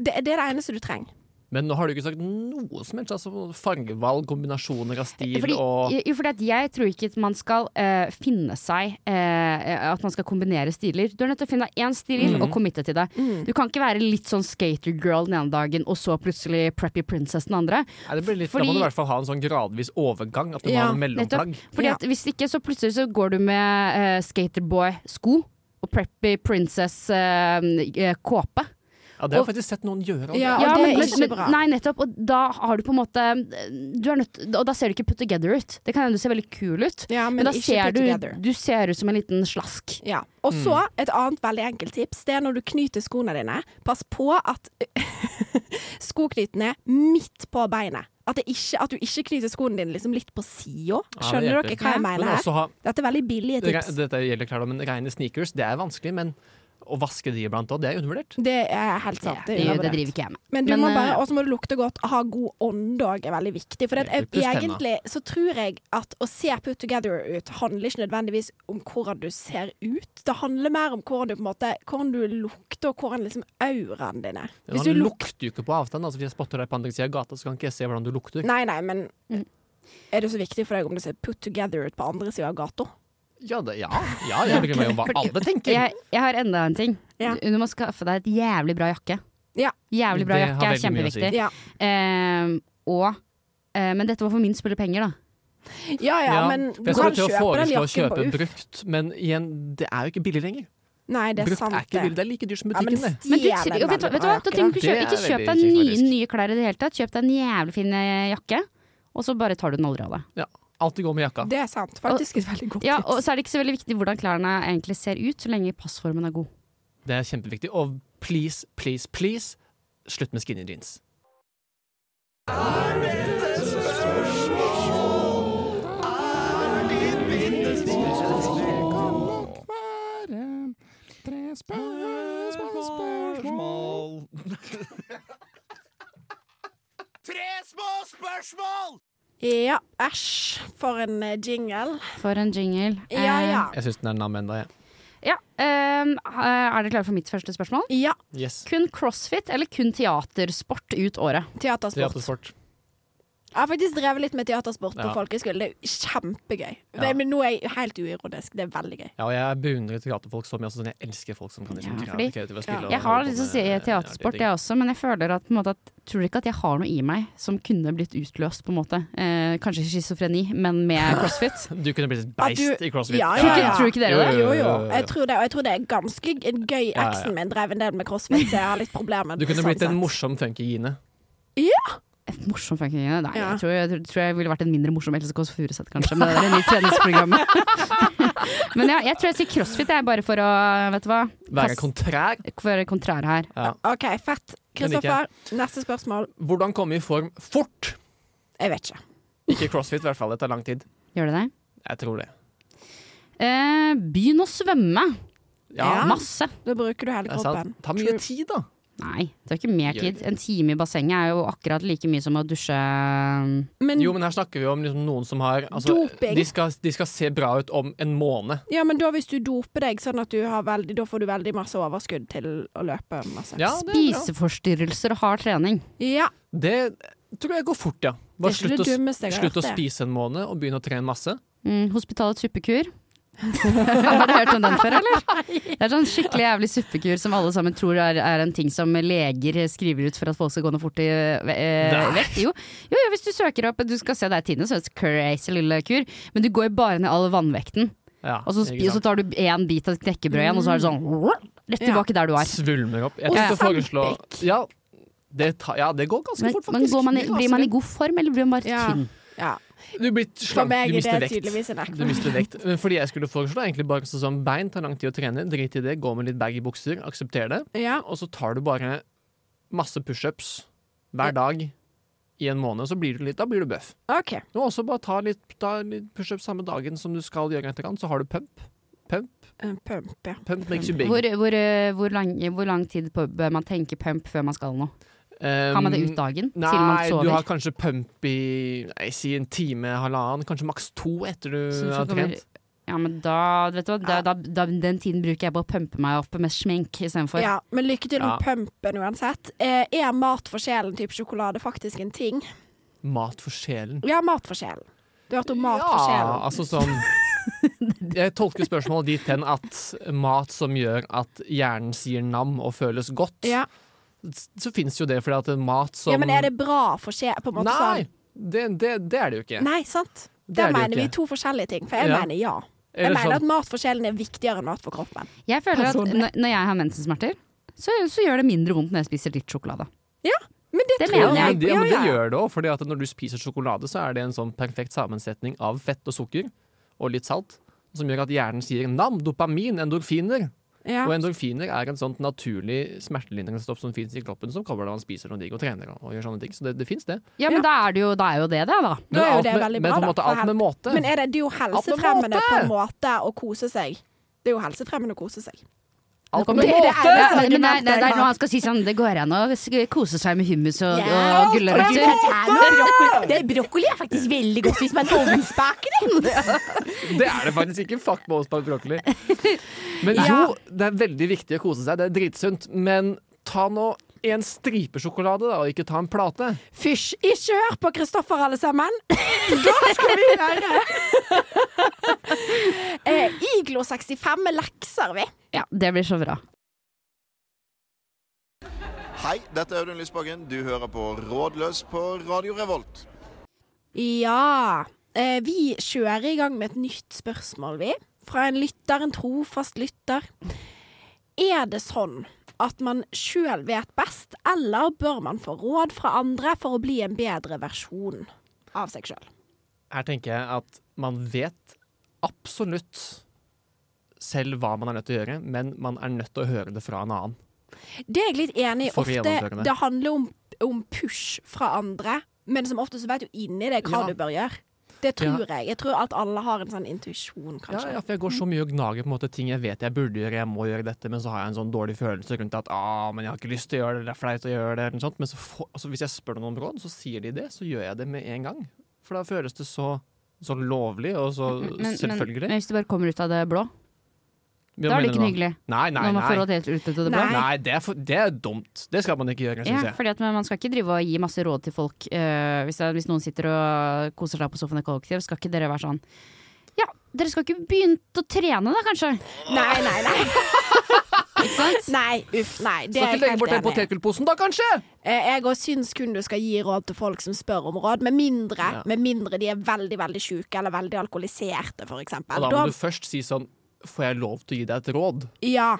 Speaker 4: Det, det er det eneste du trenger.
Speaker 5: Men nå har du ikke sagt noe som helst. Altså fargevalg, kombinasjoner av stil
Speaker 3: Fordi,
Speaker 5: og
Speaker 3: jo, fordi at jeg tror ikke at man skal eh, finne seg eh, At man skal kombinere stiler. Du er nødt til å finne deg én stil
Speaker 5: Mm.
Speaker 3: og committe til det. Du kan ikke være litt sånn skatergirl den ene dagen, og så plutselig preppy princess den andre.
Speaker 5: Nei, det blir litt, Da
Speaker 3: fordi-
Speaker 5: må du i hvert fall ha en sånn gradvis overgang. At du må
Speaker 4: Ja,
Speaker 5: ha en mellomplagg.
Speaker 3: Nettopp. Fordi
Speaker 4: Ja.
Speaker 3: at Hvis ikke, så plutselig så går du med eh, skaterboy-sko og preppy eh, princess-kåpe.
Speaker 5: Ja, det har
Speaker 3: Og-
Speaker 5: jeg faktisk sett noen gjøre. allerede.
Speaker 4: Ja, det er ikke bra.
Speaker 3: Nei, nettopp. Og da har du på en måte du er nødt, Og da ser du ikke put together ut. Det kan hende du ser veldig kul ut,
Speaker 4: Ja,
Speaker 3: men,
Speaker 4: men
Speaker 3: da
Speaker 4: ikke
Speaker 3: ser
Speaker 4: put
Speaker 3: du,
Speaker 4: together.
Speaker 3: du ser ut som en liten slask.
Speaker 4: Ja. Og så
Speaker 5: Mm.
Speaker 4: et annet veldig enkelt tips. Det er når du knyter skoene dine, pass på at skoknyten er midt på beinet. At, det ikke, at du ikke knyter skoene dine liksom litt på sida.
Speaker 5: det
Speaker 4: Skjønner dere
Speaker 5: hjelper.
Speaker 4: hva jeg
Speaker 5: Men
Speaker 4: mener her?
Speaker 5: også ha
Speaker 4: Dette er veldig billige
Speaker 5: Re-
Speaker 4: tips.
Speaker 5: Dette gjelder klart, da, men Rene sneakers det er vanskelig, men å vaske de iblant òg, det er undervurdert.
Speaker 4: Det er helt sant.
Speaker 3: Det,
Speaker 4: er
Speaker 3: det
Speaker 4: undervurdert.
Speaker 3: driver ikke jeg med.
Speaker 4: Men du
Speaker 3: Men,
Speaker 4: må
Speaker 3: eh,
Speaker 4: bare, og så må du lukte godt. Ha god ånde òg er veldig viktig. For det at
Speaker 5: Puss tenna.
Speaker 4: egentlig så tror jeg at å se put together ut handler ikke nødvendigvis om hvordan du ser ut. Det handler mer om hvordan du, på en måte, hvordan du lukter, og hvordan liksom auraen din er.
Speaker 5: Men
Speaker 4: Hvis du
Speaker 5: Man
Speaker 4: lukter
Speaker 5: lukter jo ikke på avstand. Altså, hvis jeg spotter deg på andre siden av gata, så kan ikke jeg se hvordan du lukter.
Speaker 4: Nei, nei, men
Speaker 3: Mm.
Speaker 4: er det så viktig for deg om det ser put together ut på andre sida av gata?
Speaker 5: Ja, det, ja, ja jeg bryr meg om hva alle tenker.
Speaker 3: Jeg, jeg har enda en ting.
Speaker 4: Ja.
Speaker 3: Du må skaffe deg et jævlig bra jakke.
Speaker 4: Ja.
Speaker 3: Jævlig bra
Speaker 5: Det har
Speaker 3: jakke er
Speaker 5: veldig mye å si.
Speaker 3: kjempeviktig.
Speaker 4: Ja.
Speaker 3: Eh, og eh, Men dette var for min spille penger, da.
Speaker 4: Ja, ja, men
Speaker 5: for
Speaker 4: du
Speaker 3: sånn
Speaker 5: jeg skal
Speaker 4: kan
Speaker 5: til
Speaker 4: kjøpe den
Speaker 5: å foreslå å
Speaker 4: jakken
Speaker 5: kjøpe
Speaker 4: på UF.
Speaker 5: brukt, men igjen, det er jo ikke billig lenger.
Speaker 4: Nei, det er
Speaker 5: brukt
Speaker 4: sant,
Speaker 5: er ikke billig, det er like dyrt som
Speaker 4: Ja, men
Speaker 5: butikken, det.
Speaker 3: Men du,
Speaker 4: stjeler
Speaker 3: jo, vet, du-
Speaker 4: veldig
Speaker 3: vet du
Speaker 4: bra
Speaker 3: hva? Da
Speaker 4: jakker, da.
Speaker 3: trenger du ikke
Speaker 5: Det
Speaker 3: kjøpe, ikke
Speaker 5: er
Speaker 3: kjøp deg
Speaker 5: veldig kjipt,
Speaker 3: nye,
Speaker 5: faktisk.
Speaker 3: nye klær i det hele tatt. Kjøp deg en jævlig fin eh, jakke, og så bare tar du den aldri av deg.
Speaker 5: Ja, alltid gå med jakka.
Speaker 4: Det er sant. Faktisk et veldig godt
Speaker 3: Ja,
Speaker 4: tips.
Speaker 3: og så er det ikke så veldig viktig hvordan klærne egentlig ser ut, så lenge passformen er god.
Speaker 5: Det er kjempeviktig. Og please, please, please, slutt med skinny jeans.
Speaker 4: Ja, æsj, for en eh, jingle.
Speaker 3: For en jingle.
Speaker 5: Eh,
Speaker 4: Ja, ja.
Speaker 5: Jeg syns den er nam enda, jeg.
Speaker 3: Eh, ja, ehm, er dere klare for mitt første spørsmål?
Speaker 4: Ja,
Speaker 5: Yes.
Speaker 3: Kun crossfit eller kun teatersport ut året?
Speaker 4: teatersport.
Speaker 5: Teatersport.
Speaker 4: Jeg har faktisk drevet litt med teatersport på
Speaker 5: Ja.
Speaker 4: folkehøyskolen. Det er jo kjempegøy. Det,
Speaker 5: Ja.
Speaker 4: men nå er jeg helt uironisk. Det er veldig gøy.
Speaker 5: Ja, og jeg beundrer teaterfolk så mye. Altså, sånn, jeg elsker folk som kan liksom,
Speaker 3: Ja,
Speaker 5: kreative-
Speaker 3: fordi-
Speaker 5: kreative spille. og
Speaker 3: Jeg har
Speaker 5: holde på
Speaker 3: lyst til å
Speaker 5: med
Speaker 3: si
Speaker 5: artige
Speaker 3: teatersport,
Speaker 5: ting.
Speaker 3: jeg også, men jeg føler at, på en måte, at tror ikke at jeg har noe i meg som kunne blitt utløst, på en måte. Eh, kanskje schizofreni, men med crossfit.
Speaker 5: Du kunne blitt
Speaker 4: At
Speaker 5: et beist
Speaker 4: du-
Speaker 5: i crossfit.
Speaker 4: Ja,
Speaker 3: Tror
Speaker 4: ja,
Speaker 3: ikke,
Speaker 4: ja.
Speaker 3: tror ikke dere det?
Speaker 4: Jo, jo. Jeg tror det, og jeg tror det er ganske g- en gøy
Speaker 5: ja.
Speaker 4: eksen min drev en del med crossfit, så jeg har litt problemer med
Speaker 5: Du kunne
Speaker 4: sånn
Speaker 5: blitt en
Speaker 4: sett.
Speaker 5: morsom funky-gine.
Speaker 3: Morsom fucking greie. Nei,
Speaker 4: Ja.
Speaker 3: jeg, tror, jeg, tror jeg ville vært en mindre morsom Else Kåss Furuseth, kanskje, med det der nye treningsprogrammet. Men ja, jeg tror jeg sier crossfit, jeg, bare for å, vet du hva
Speaker 5: Være kontrær.
Speaker 3: Være kontrær her.
Speaker 4: OK, fett. Kristoffer, neste spørsmål.
Speaker 5: Hvordan komme i form fort?
Speaker 4: Jeg vet ikke.
Speaker 5: Ikke crossfit, i hvert fall. Det tar lang tid.
Speaker 3: Gjør det det?
Speaker 5: Jeg tror det.
Speaker 3: Eh, begynn å svømme.
Speaker 5: Ja,
Speaker 4: Ja.
Speaker 3: Masse.
Speaker 4: Da bruker du hele
Speaker 5: det er sant.
Speaker 4: kroppen.
Speaker 5: Ta mye tid, da.
Speaker 3: Nei, det er ikke mer
Speaker 5: Gjør
Speaker 3: tid. En time i bassenget er jo akkurat like mye som å dusje mm,
Speaker 4: Men,
Speaker 5: Jo, men her snakker vi om liksom noen som har altså,
Speaker 4: Mm. Doping.
Speaker 5: de, skal, de skal se bra ut om en måned.
Speaker 4: ja, men da hvis du doper deg sånn at du har veldig Da får du veldig masse overskudd til å løpe masse.
Speaker 5: Ja, det, er bra.
Speaker 3: spiseforstyrrelser og hard trening.
Speaker 4: Ja.
Speaker 5: det tror jeg går fort, ja. Bare
Speaker 4: Det er ikke det
Speaker 5: slutt, å,
Speaker 4: dummeste jeg har
Speaker 5: slutt å
Speaker 4: hørt, det.
Speaker 5: spise en måned og begynne å trene masse.
Speaker 3: Mm, hospitalets suppekur. Har du hørt om den før, eller? Det er sånn skikkelig jævlig suppekur som alle sammen tror er, er en ting som leger skriver ut for at folk skal gå noe fort i eh,
Speaker 5: Nei.
Speaker 3: vekt. Jo. jo, jo, hvis du søker opp Du skal se deg i tidene, så er det en crazy lille kur. Men du går bare ned all vannvekten.
Speaker 5: Ja,
Speaker 3: Og så, spi-
Speaker 5: ikke
Speaker 3: og så
Speaker 5: sant? Mm.
Speaker 3: tar du én bit av et knekkebrød igjen, og så er det sånn rett tilbake der du er.
Speaker 5: Svulmer opp. Jeg
Speaker 4: Og
Speaker 5: tenkte å foreslå
Speaker 4: Sandbeck.
Speaker 5: ja det, ta, ja, det går ganske
Speaker 3: Men,
Speaker 5: fort,
Speaker 3: men
Speaker 5: faktisk.
Speaker 3: går man i,
Speaker 5: Mye
Speaker 3: blir man i
Speaker 5: raskere.
Speaker 3: god form, eller blir man bare
Speaker 4: Ja.
Speaker 3: tynn?
Speaker 4: ja.
Speaker 5: Du blir
Speaker 4: For
Speaker 5: slank,
Speaker 4: meg
Speaker 5: du
Speaker 4: er
Speaker 5: mister
Speaker 4: det
Speaker 5: vekt.
Speaker 4: tydeligvis en ekkel
Speaker 5: Du mister vekt. Men fordi jeg skulle foreslå er egentlig bare sånn som bein tar lang tid å trene. Drit i det, gå med litt bag i bukser, aksepter det.
Speaker 4: Ja.
Speaker 5: Og så tar du bare masse pushups hver dag i en måned, så blir du litt, da blir du bøff.
Speaker 4: OK.
Speaker 5: Og også bare ta litt, ta litt pushups samme dagen som du skal gjøre etterkant, så har du pump.
Speaker 4: En pump, ja.
Speaker 5: Pump makes you big.
Speaker 3: Hvor, hvor, eh, hvor, lang, hvor lang tid på, bør man tenke pump før man skal noe? Har man det ut dagen?
Speaker 5: Um, Nei,
Speaker 3: til man
Speaker 5: du
Speaker 3: sover?
Speaker 5: har kanskje pump i nei, si en time, halvannen, kanskje maks to etter du
Speaker 3: Så du
Speaker 5: har
Speaker 3: kommer-
Speaker 5: trent.
Speaker 3: Ja, men da, vet du hva, da, da, da, den tiden bruker jeg på å pumpe meg opp med sminke istedenfor.
Speaker 4: Ja, men lykke til med
Speaker 5: Ja.
Speaker 4: pumpen uansett. Eh, er mat for sjelen type sjokolade faktisk en ting?
Speaker 5: Mat for sjelen.
Speaker 4: Ja, mat for sjelen. Du har hørt om mat for sjelen?
Speaker 5: altså sånn Jeg tolker spørsmålet dit hen at mat som gjør at hjernen sier nam og føles godt,
Speaker 4: Ja.
Speaker 5: s- så fins jo det fordi at mat som
Speaker 4: ja, men er det bra for sjelen? På en måte
Speaker 5: Nei!
Speaker 4: sånn.
Speaker 5: Det, det, det er det jo ikke.
Speaker 4: Nei, sant?
Speaker 5: Det
Speaker 4: Da
Speaker 5: er det jo
Speaker 4: mener vi
Speaker 5: ikke.
Speaker 4: to forskjellige ting, for jeg
Speaker 5: Ja.
Speaker 4: mener ja. Jeg
Speaker 5: Eller
Speaker 4: mener
Speaker 5: sånn-
Speaker 4: at mat for sjelen er viktigere enn mat for kroppen.
Speaker 3: Jeg føler at når, når jeg har mensensmerter, så, så gjør det mindre vondt når jeg spiser litt sjokolade.
Speaker 4: Ja, men det,
Speaker 3: Det
Speaker 4: tror
Speaker 5: Ja,
Speaker 3: mener
Speaker 5: men
Speaker 4: jeg.
Speaker 5: det, ja, men det
Speaker 4: Ja, ja.
Speaker 5: gjør det òg, for når du spiser sjokolade, så er det en sånn perfekt sammensetning av fett og sukker og litt salt, som gjør at hjernen sier nam, dopamin, endorfiner.
Speaker 4: Ja.
Speaker 5: Og endorfiner er en sånt naturlig smertelindringsstoff som fins i kroppen, som kommer når man spiser og digger og trener og, og gjør sånne ting. Så det, det fins, det.
Speaker 3: Ja, men da er det jo, da er jo det, det, da.
Speaker 4: Da er jo
Speaker 5: alt
Speaker 4: det
Speaker 5: med,
Speaker 4: veldig
Speaker 5: men
Speaker 4: bra,
Speaker 5: på en
Speaker 4: da,
Speaker 5: måte
Speaker 4: for
Speaker 5: alt med måte.
Speaker 4: Men er det, det er jo helsefremmende
Speaker 5: måte!
Speaker 4: på en måte å kose seg. Det er jo helsefremmende å kose seg.
Speaker 5: alt
Speaker 4: det-
Speaker 5: med
Speaker 4: det er-
Speaker 5: måte!
Speaker 3: Ja,
Speaker 4: det er-
Speaker 3: men det, er- det,
Speaker 4: det
Speaker 3: det er
Speaker 4: er-
Speaker 3: når han skal si sånn Det går an å s- kose seg med hummus og,
Speaker 4: Ja,
Speaker 3: og gulrøtter.
Speaker 9: Det er brokkoli er faktisk veldig godt hvis man ovnsbaker det.
Speaker 5: Det er det faktisk ikke. Fuck med ostepop broccoli. Men jo, det er veldig viktig å kose seg. Det er dritsunt. Men ta nå en stripe sjokolade, da, og ikke ta en plate.
Speaker 4: Fysj, ikke hør på Kristoffer alle sammen. Da skal vi høre eh, Iglo 65 med lekser, vi.
Speaker 3: Ja, det blir så bra.
Speaker 10: Hei, dette er Audun Lysbakken. Du hører på Rådløs på Radio Revolt.
Speaker 4: Ja. Eh, vi kjører i gang med et nytt spørsmål, vi. Fra en lytter, en trofast lytter. Er det sånn at man sjøl vet best, eller bør man få råd fra andre for å bli en bedre versjon av seg sjøl?
Speaker 5: Her tenker jeg at man vet absolutt selv hva man er nødt til å gjøre, men man er nødt til å høre det fra en annen.
Speaker 4: Det er jeg litt enig i.
Speaker 5: For å
Speaker 4: Ofte
Speaker 5: gjennomføre det.
Speaker 4: det handler om, om push fra andre, men som ofte så vet du inni deg hva
Speaker 5: Ja.
Speaker 4: du bør gjøre. Det tror jeg. Jeg tror at alle har en sånn intuisjon,
Speaker 5: Ja,
Speaker 4: kanskje.
Speaker 5: ja, for jeg går så mye og gnager på en måte ting jeg vet jeg burde gjøre, jeg må gjøre dette, men så har jeg en sånn dårlig følelse rundt at ah, men jeg har ikke lyst til å gjøre det, det er flaut å gjøre det, eller noe sånt. Men så får, altså, hvis jeg spør noen om råd, så sier de det, så gjør jeg det med en gang. For da føles det så, så lovlig og så
Speaker 3: Mm, Men, men,
Speaker 5: selvfølgelig.
Speaker 3: men hvis du bare kommer ut av det blå,
Speaker 5: Hva
Speaker 3: da er det
Speaker 5: mener
Speaker 3: ikke
Speaker 5: du
Speaker 3: noe
Speaker 5: nå?
Speaker 3: hyggelig.
Speaker 5: Nei, nei,
Speaker 3: Når man får
Speaker 5: nei.
Speaker 3: råd helt ut av det blå.
Speaker 4: Nei.
Speaker 5: Nei, det er, for, det er dumt. Det skal man ikke gjøre, syns
Speaker 3: Ja,
Speaker 5: jeg.
Speaker 3: fordi at Man skal ikke drive og gi masse råd til folk. eh, hvis, hvis noen sitter og koser seg på sofaen i kollektiv, skal ikke dere være sånn Ja, dere skal ikke begynt å trene da, kanskje?
Speaker 4: Nei, nei, nei. Nei, uff, nei. Det er
Speaker 5: Skal ikke
Speaker 4: jeg
Speaker 5: legge
Speaker 4: helt
Speaker 5: bort den
Speaker 4: enig i.
Speaker 5: potetgullposen da, kanskje?
Speaker 4: Eh, Jeg òg syns kun du skal gi råd til folk som spør om råd, med mindre,
Speaker 5: Ja.
Speaker 4: med mindre de er veldig veldig sjuke eller veldig alkoholiserte, for eksempel.
Speaker 5: Og da
Speaker 4: Da-
Speaker 5: må du først si sånn Får jeg lov til å gi deg et råd?
Speaker 4: ja.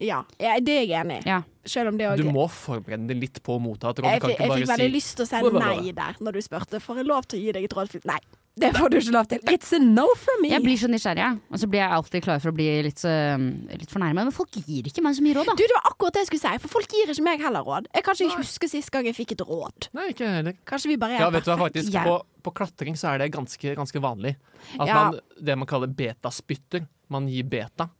Speaker 4: Ja, ja, det er jeg enig i.
Speaker 3: Ja.
Speaker 4: Selv om det òg
Speaker 5: Du må forberede deg litt på å motta et råd.
Speaker 4: Jeg,
Speaker 5: Du kan
Speaker 4: fikk-
Speaker 5: ikke
Speaker 4: jeg fikk
Speaker 5: bare
Speaker 4: veldig
Speaker 5: si
Speaker 4: lyst til å si
Speaker 5: Blah, blah, blah.
Speaker 4: nei der når du spurte. Får jeg lov til å gi deg et råd? Nei, det får du ikke lov til. It's a no from me.
Speaker 3: Jeg blir så nysgjerrig, jeg. og så blir jeg alltid klar for å bli litt, eh, litt fornærma. Men folk gir ikke meg så mye råd, da.
Speaker 4: Du, Det var akkurat det jeg skulle si, for folk gir ikke meg heller råd. Jeg kan ikke huske sist gang jeg fikk et råd.
Speaker 5: Nei, ikke jeg heller.
Speaker 4: Kanskje vi bare er
Speaker 5: Ja, vet du hva, faktisk,
Speaker 3: Jeg-
Speaker 5: på, på klatring så er det ganske, ganske vanlig. At
Speaker 4: Ja.
Speaker 5: man, det man kaller betaspytter. Man gir beta,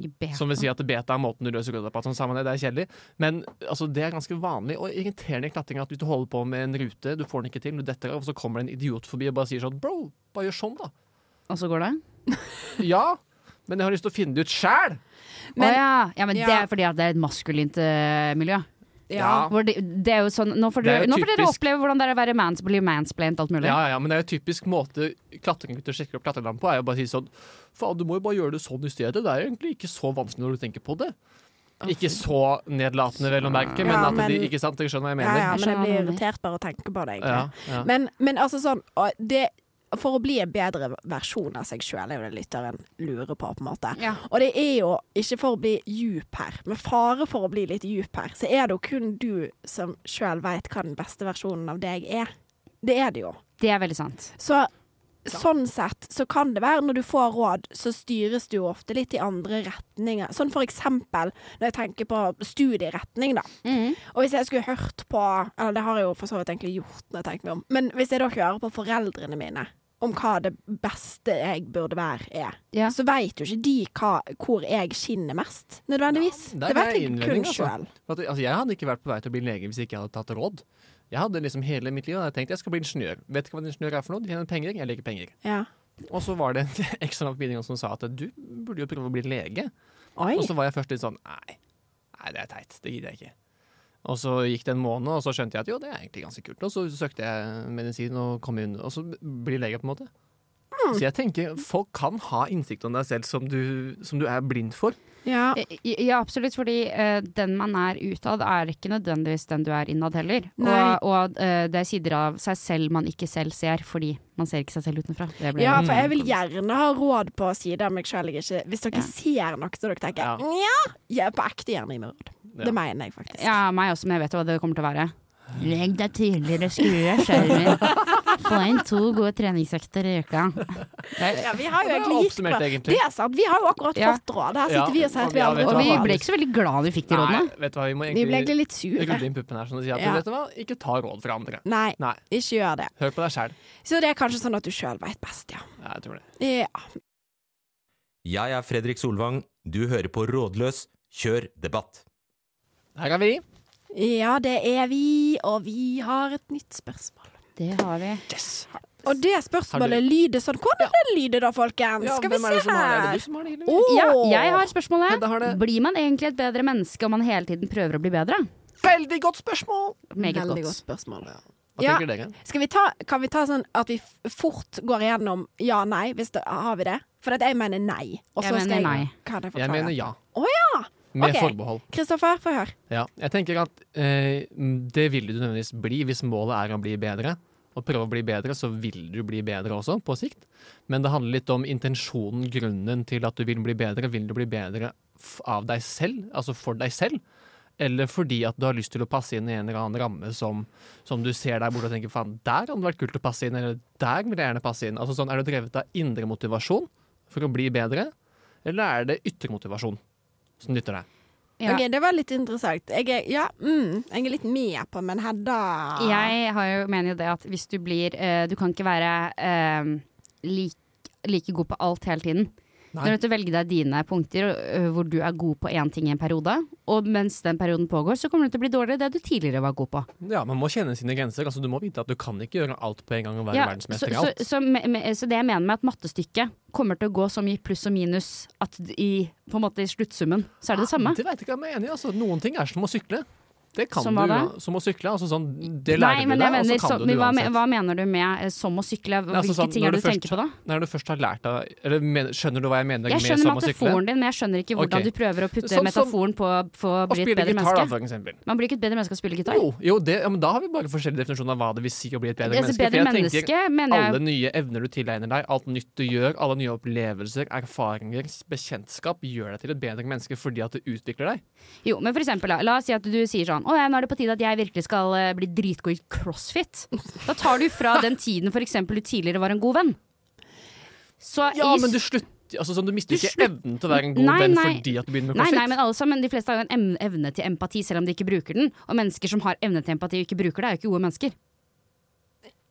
Speaker 3: Gi beta.
Speaker 5: som vil si at beta er måten du løser røda på. Sånn sammen, det er kjedelig. Men altså, det er ganske vanlig og irriterende i klatring at hvis du holder på med en rute, du får den ikke til, du detter av, og så kommer det en idiot forbi og bare sier sånn Bro, bare gjør sånn, da.
Speaker 3: Og så går det?
Speaker 5: Ja, men jeg har lyst til å finne det ut sjæl.
Speaker 3: Men, ja. ja, men
Speaker 4: Ja. Ah.
Speaker 3: det er fordi at det er et maskulint eh, miljø.
Speaker 5: Ja.
Speaker 3: Hvor det, det er jo sånn, nå får,
Speaker 5: Det er
Speaker 3: dere,
Speaker 5: jo
Speaker 3: nå får dere
Speaker 5: typisk-
Speaker 3: oppleve hvordan det er å være mans, bli mansplaint alt mulig.
Speaker 5: Ja, ja, ja, men det er jo typisk måte klatregutter sjekker opp klatrelampen på, er jo bare å si sånn Faen, du må jo bare gjøre det sånn i stedet. Det er jo egentlig ikke så vanskelig når du tenker på det. Ikke så nedlatende, vel å merke, men
Speaker 4: Ja,
Speaker 5: at
Speaker 4: men-
Speaker 5: de Ikke sant? Dere skjønner hva jeg
Speaker 4: Ja, ja,
Speaker 5: mener?
Speaker 3: Jeg
Speaker 4: men jeg
Speaker 3: skjønner
Speaker 4: blir
Speaker 3: hva du mener.
Speaker 4: irritert bare å tenke på det,
Speaker 5: Ja,
Speaker 4: egentlig.
Speaker 5: ja.
Speaker 4: Men, men altså sånn og det, For å bli en bedre versjon av seg sjøl, er jo det lytteren lurer på, på en måte.
Speaker 3: Ja.
Speaker 4: Og det er jo ikke for å bli djup her, med fare for å bli litt djup her, så er det jo kun du som sjøl veit hva den beste versjonen av deg er. Det er det jo.
Speaker 3: Det er veldig sant.
Speaker 4: Så sånn sett så kan det være, når du får råd, så styres du jo ofte litt i andre retninger. Sånn for eksempel når jeg tenker på studieretning, da. Og hvis jeg skulle hørt på Eller det har jeg jo for så vidt egentlig gjort, når jeg tenker meg om. Men hvis jeg da hører på foreldrene mine om hva det beste jeg burde være, er,
Speaker 3: Ja.
Speaker 4: så veit jo ikke de hva, hvor jeg skinner mest, nødvendigvis.
Speaker 5: Der
Speaker 4: det
Speaker 5: er
Speaker 4: vet jeg
Speaker 5: innvending,
Speaker 4: kun
Speaker 5: altså.
Speaker 4: sjøl.
Speaker 5: For at, altså, jeg hadde ikke vært på vei til å bli lege hvis ikke jeg hadde tatt råd. Jeg hadde liksom hele mitt liv hadde jeg tenkt jeg skal bli ingeniør. Vet ikke hva en ingeniør er for noe. De tjener penger. Jeg liker penger.
Speaker 4: Ja.
Speaker 5: Og så var det en ekstra på videregående som sa at du burde jo prøve å bli lege.
Speaker 9: Oi.
Speaker 5: Og så var jeg først litt sånn nei, nei, det er teit. Det gidder jeg ikke. Og så gikk det en måned, og så skjønte jeg at jo, det er egentlig ganske kult. Og så søkte jeg medisin og kom inn, og så blir lege, på en måte.
Speaker 4: Mm.
Speaker 5: Så jeg tenker, folk kan ha innsikt om deg selv som du, som du er blind for.
Speaker 4: Ja.
Speaker 3: Ja, absolutt, fordi eh, den man er utad, er ikke nødvendigvis den du er innad heller.
Speaker 4: Nei.
Speaker 3: Og, og eh, det er sider av seg selv man ikke selv ser, fordi man ser ikke seg selv utenfra. Det blir-
Speaker 4: ja, for jeg vil gjerne ha råd på sider av meg sjøl jeg ikke Hvis dere ser noe så dere
Speaker 5: Ja.
Speaker 4: tenker nja, jeg er på ekte gjerne gi meg råd.
Speaker 5: Ja.
Speaker 4: Det mener jeg faktisk.
Speaker 3: Ja, meg også, men jeg vet jo hva det kommer til å være. Legg deg tidligere, skru av skjermen. Få inn to gode treningsøkter i uka.
Speaker 4: Ja, vi har jo
Speaker 5: Det er
Speaker 4: egentlig gitt
Speaker 5: oppsummert,
Speaker 4: råd.
Speaker 5: egentlig.
Speaker 4: Det er sant. Vi har jo akkurat
Speaker 3: Ja.
Speaker 4: fått råd. Her
Speaker 5: Ja,
Speaker 4: sitter vi og sier
Speaker 5: og
Speaker 4: at
Speaker 5: vi
Speaker 4: vi
Speaker 5: har
Speaker 4: aldri
Speaker 3: Og
Speaker 5: vet du
Speaker 4: tar
Speaker 3: vi
Speaker 5: hva?
Speaker 3: ble
Speaker 4: råd.
Speaker 3: ikke så veldig glad vi fikk de
Speaker 5: Nei,
Speaker 3: rådene.
Speaker 5: vet du hva, vi må
Speaker 4: Vi ble
Speaker 5: egentlig
Speaker 4: egentlig litt sure.
Speaker 5: rulle inn puppene her sånn og si at
Speaker 4: Ja.
Speaker 5: vet du hva, ikke ta råd fra andre.
Speaker 4: Nei,
Speaker 5: Nei,
Speaker 4: ikke gjør det.
Speaker 5: hør på deg sjæl.
Speaker 4: Så det er kanskje sånn at du sjøl veit best, ja.
Speaker 5: Ja, jeg tror det.
Speaker 4: ja.
Speaker 11: Jeg er Fredrik Solvang. Du hører på Rådløs. Kjør debatt.
Speaker 5: Her er vi.
Speaker 4: Ja, det er vi, og vi har et nytt spørsmål.
Speaker 3: Det har vi.
Speaker 4: Og det
Speaker 5: Har
Speaker 4: spørsmålet lyder sånn. Hvordan det lyder da, folkens? Skal vi
Speaker 5: hvem er
Speaker 4: se
Speaker 5: det som har det? Er det
Speaker 4: her.
Speaker 5: du som har det, Hilde?
Speaker 4: Åh!
Speaker 3: Ja, jeg har
Speaker 5: Hedda har
Speaker 3: spørsmålet.
Speaker 5: det.
Speaker 3: Blir man egentlig et bedre menneske om man hele tiden prøver å bli bedre?
Speaker 5: Veldig godt spørsmål!
Speaker 3: Meget
Speaker 4: Veldig
Speaker 3: godt.
Speaker 4: godt spørsmål.
Speaker 5: Hva
Speaker 4: Ja.
Speaker 5: tenker dere?
Speaker 4: Skal vi ta, kan vi ta sånn at vi f- fort går igjennom ja, nei, hvis det, har vi det? For at jeg mener nei. Og
Speaker 3: Jeg
Speaker 4: så skal
Speaker 3: mener nei.
Speaker 4: Kan jeg,
Speaker 5: Jeg
Speaker 4: forklare?
Speaker 5: mener ja.
Speaker 4: Å ja!
Speaker 5: Med
Speaker 4: Ok.
Speaker 5: forbehold.
Speaker 4: Kristoffer, få høre.
Speaker 5: Ja, jeg tenker at eh, det vil du nødvendigvis bli hvis målet er å bli bedre. Og prøve å bli bedre, så vil du bli bedre også, på sikt. Men det handler litt om intensjonen, grunnen til at du vil bli bedre. Vil du bli bedre f- av deg selv, altså for deg selv? Eller fordi at du har lyst til å passe inn i en eller annen ramme som, som du ser der borte og tenker faen, der hadde det vært kult å passe inn, eller der vil jeg gjerne passe inn. Altså sånn, Er du drevet av indre motivasjon for å bli bedre, eller er det ytre motivasjon som nytter deg?
Speaker 3: Ja.
Speaker 4: Ok, Det var litt interessant. Jeg er, ja, mm, jeg er litt med på, men Hedda
Speaker 3: Ah. Jeg har jo, mener jo det at hvis du blir eh, Du kan ikke være eh, lik, like god på alt hele tiden. Du
Speaker 5: Nei.
Speaker 3: er nødt til å velge deg dine punkter eh, hvor du er god på én ting i en periode. Og mens den perioden pågår, så kommer du til å bli dårligere i det du tidligere var god på.
Speaker 5: Ja, man må kjenne sine grenser. Altså, du må vite at du kan ikke gjøre alt på en gang og være
Speaker 3: Ja, så,
Speaker 5: verdensmester i
Speaker 3: så,
Speaker 5: alt.
Speaker 3: så, me- me- så det jeg mener med at mattestykket kommer til å gå så mye pluss og minus at i, på en måte i sluttsummen så er det det samme.
Speaker 5: Det vet jeg ikke om jeg er enig i. Altså, noen ting er som å sykle. Det kan
Speaker 3: Som
Speaker 5: du
Speaker 3: hva
Speaker 5: jo.
Speaker 3: da?
Speaker 5: Som å sykle. Altså, sånn, det lærer
Speaker 3: Nei, men
Speaker 5: du
Speaker 3: jeg
Speaker 5: deg,
Speaker 3: mener,
Speaker 5: og så kan
Speaker 3: så,
Speaker 5: du
Speaker 3: men
Speaker 5: det
Speaker 3: hva, me-
Speaker 5: uansett.
Speaker 3: hva mener du med eh, som å sykle? Hvilke
Speaker 5: altså sånn,
Speaker 3: ting
Speaker 5: når
Speaker 3: er
Speaker 5: du
Speaker 3: det du tenker
Speaker 5: først-
Speaker 3: på da?
Speaker 5: Når du først har lært deg Eller men, skjønner du hva jeg mener
Speaker 3: Jeg
Speaker 5: med
Speaker 3: skjønner
Speaker 5: som å sykle?
Speaker 3: metaforen din, men jeg skjønner ikke hvordan
Speaker 5: Ok.
Speaker 3: du prøver å putte
Speaker 5: Sånn som-
Speaker 3: metaforen på på å
Speaker 5: Å
Speaker 3: bli et
Speaker 5: spille
Speaker 3: bedre
Speaker 5: gitar, da,
Speaker 3: menneske.
Speaker 5: for eksempel.
Speaker 3: Man blir ikke et bedre menneske av å spille gitar.
Speaker 5: Jo, jo det, ja, men da har vi bare forskjellig definisjon av hva det vil si å bli et bedre
Speaker 3: Det er så
Speaker 5: menneske.
Speaker 3: bedre
Speaker 5: For jeg tenker,
Speaker 3: menneske, mener jeg.
Speaker 5: Alle nye evner du tilegner deg, alt nytt du gjør, alle nye opplevelser, erfaringer, bekjentskap, gjør deg til et bedre menneske fordi at det utvikler deg.
Speaker 3: Jo, men for eksempel, da, la oss si at du sier sånn Å ja, nå er det på tide at jeg virkelig skal eh, bli dritgod i crossfit. Da tar du fra den tiden for eksempel du tidligere var en god venn. Så
Speaker 5: Ja,
Speaker 3: i-
Speaker 5: men du slutter Altså, sånn, du mister
Speaker 3: Du
Speaker 5: ikke
Speaker 3: slutt-
Speaker 5: evnen til å være en god
Speaker 3: Nei,
Speaker 5: venn
Speaker 3: nei.
Speaker 5: fordi at du begynner med
Speaker 3: Nei,
Speaker 5: crossfit.
Speaker 3: nei, men alle sammen, de fleste har jo en em- evne til empati, selv om de ikke bruker den. Og mennesker som har evne til empati og ikke bruker det, er jo ikke gode mennesker.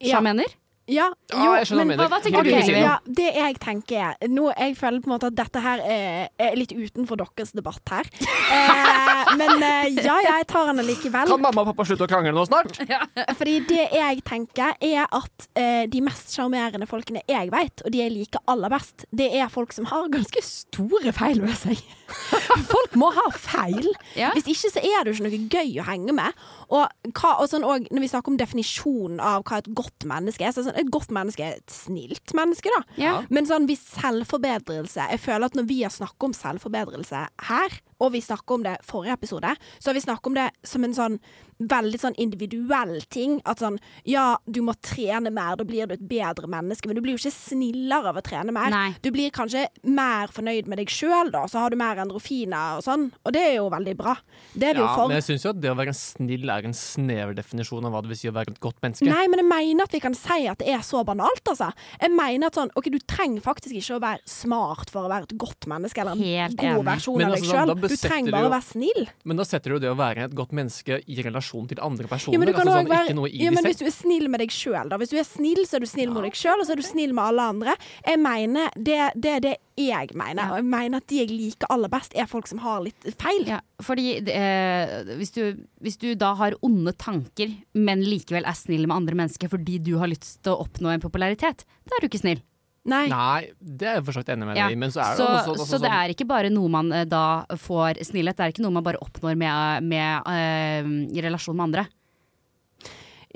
Speaker 3: Skjønner du
Speaker 4: Ja.
Speaker 3: hva jeg mener?
Speaker 4: Ja,
Speaker 5: Ja,
Speaker 4: jo,
Speaker 5: Ah, jeg skjønner
Speaker 4: men
Speaker 3: hva-
Speaker 5: hva du mener.
Speaker 3: hva tenker
Speaker 5: Helt
Speaker 3: du,
Speaker 5: enig.
Speaker 3: Silje?
Speaker 4: ja, det jeg tenker er Nå, Jeg føler på en måte at dette her er, er litt utenfor deres debatt her. Eh, men eh, ja, jeg tar den likevel.
Speaker 5: Kan mamma og pappa slutte å krangle nå snart?
Speaker 4: Eh, Fordi det jeg tenker, er at eh, de mest sjarmerende folkene jeg vet, og de jeg liker aller best, det er folk som har ganske store feil ved seg. Folk må ha feil.
Speaker 3: Ja.
Speaker 4: Hvis ikke så er det jo ikke noe gøy å henge med. Og, hva, og, sånn, og når vi snakker om definisjonen av hva et godt menneske er, så er det sånn, et godt menneske er et snilt menneske, da.
Speaker 3: Ja.
Speaker 4: Men sånn hvis selvforbedrelse Jeg føler at når vi har snakket om selvforbedrelse her, og vi snakket om det forrige episode, så har vi snakket om det som en sånn veldig sånn individuell ting. At sånn ja, du må trene mer, da blir du et bedre menneske. Men du blir jo ikke snillere av å trene mer.
Speaker 3: Nei.
Speaker 4: Du blir kanskje mer fornøyd med deg sjøl, da. Så har du mer endorfiner og sånn. Og det er jo veldig bra. Det er vi
Speaker 5: Ja,
Speaker 4: jo for.
Speaker 5: men jeg syns jo at det å være snill er en snever definisjon av hva det vil si å være et godt menneske.
Speaker 4: Nei, men jeg mener at vi kan si at det er så banalt, altså. Jeg mener at sånn, ok, Du trenger faktisk ikke å være smart for å være et godt menneske eller en
Speaker 3: Helt
Speaker 4: god
Speaker 3: enig.
Speaker 4: versjon
Speaker 5: Men
Speaker 4: av
Speaker 5: altså,
Speaker 4: deg
Speaker 5: sånn,
Speaker 4: sjøl.
Speaker 5: da
Speaker 4: Du
Speaker 5: besetter
Speaker 4: trenger
Speaker 5: du
Speaker 4: bare
Speaker 5: jo-
Speaker 4: å være snill.
Speaker 5: Men da setter du jo det å være et godt menneske i relasjon til andre personer.
Speaker 4: Ja, men du kan
Speaker 5: altså
Speaker 4: også
Speaker 5: sånn,
Speaker 4: være,
Speaker 5: Ikke noe i
Speaker 4: ja,
Speaker 5: de
Speaker 4: men
Speaker 5: selv.
Speaker 4: hvis du er snill med deg sjøl, da. Hvis du er snill, så er du snill mot deg sjøl, og så er du snill med alle andre. Jeg mener, Det det er det, jeg mener. Og jeg mener at de jeg liker aller best, er folk som har litt feil.
Speaker 3: Ja, fordi det, eh, hvis, du, hvis du da har onde tanker, men likevel er snill med andre mennesker fordi du har lyst til å oppnå en popularitet, da er du ikke snill.
Speaker 4: Nei.
Speaker 5: det er jeg for så vidt enig med
Speaker 3: Ja.
Speaker 5: deg i, men så er det
Speaker 3: så,
Speaker 5: også sånn- også
Speaker 3: så det
Speaker 5: sånn-
Speaker 3: er ikke bare noe man eh, da får snillhet, det er ikke noe man bare oppnår med, med, eh, i relasjon med andre.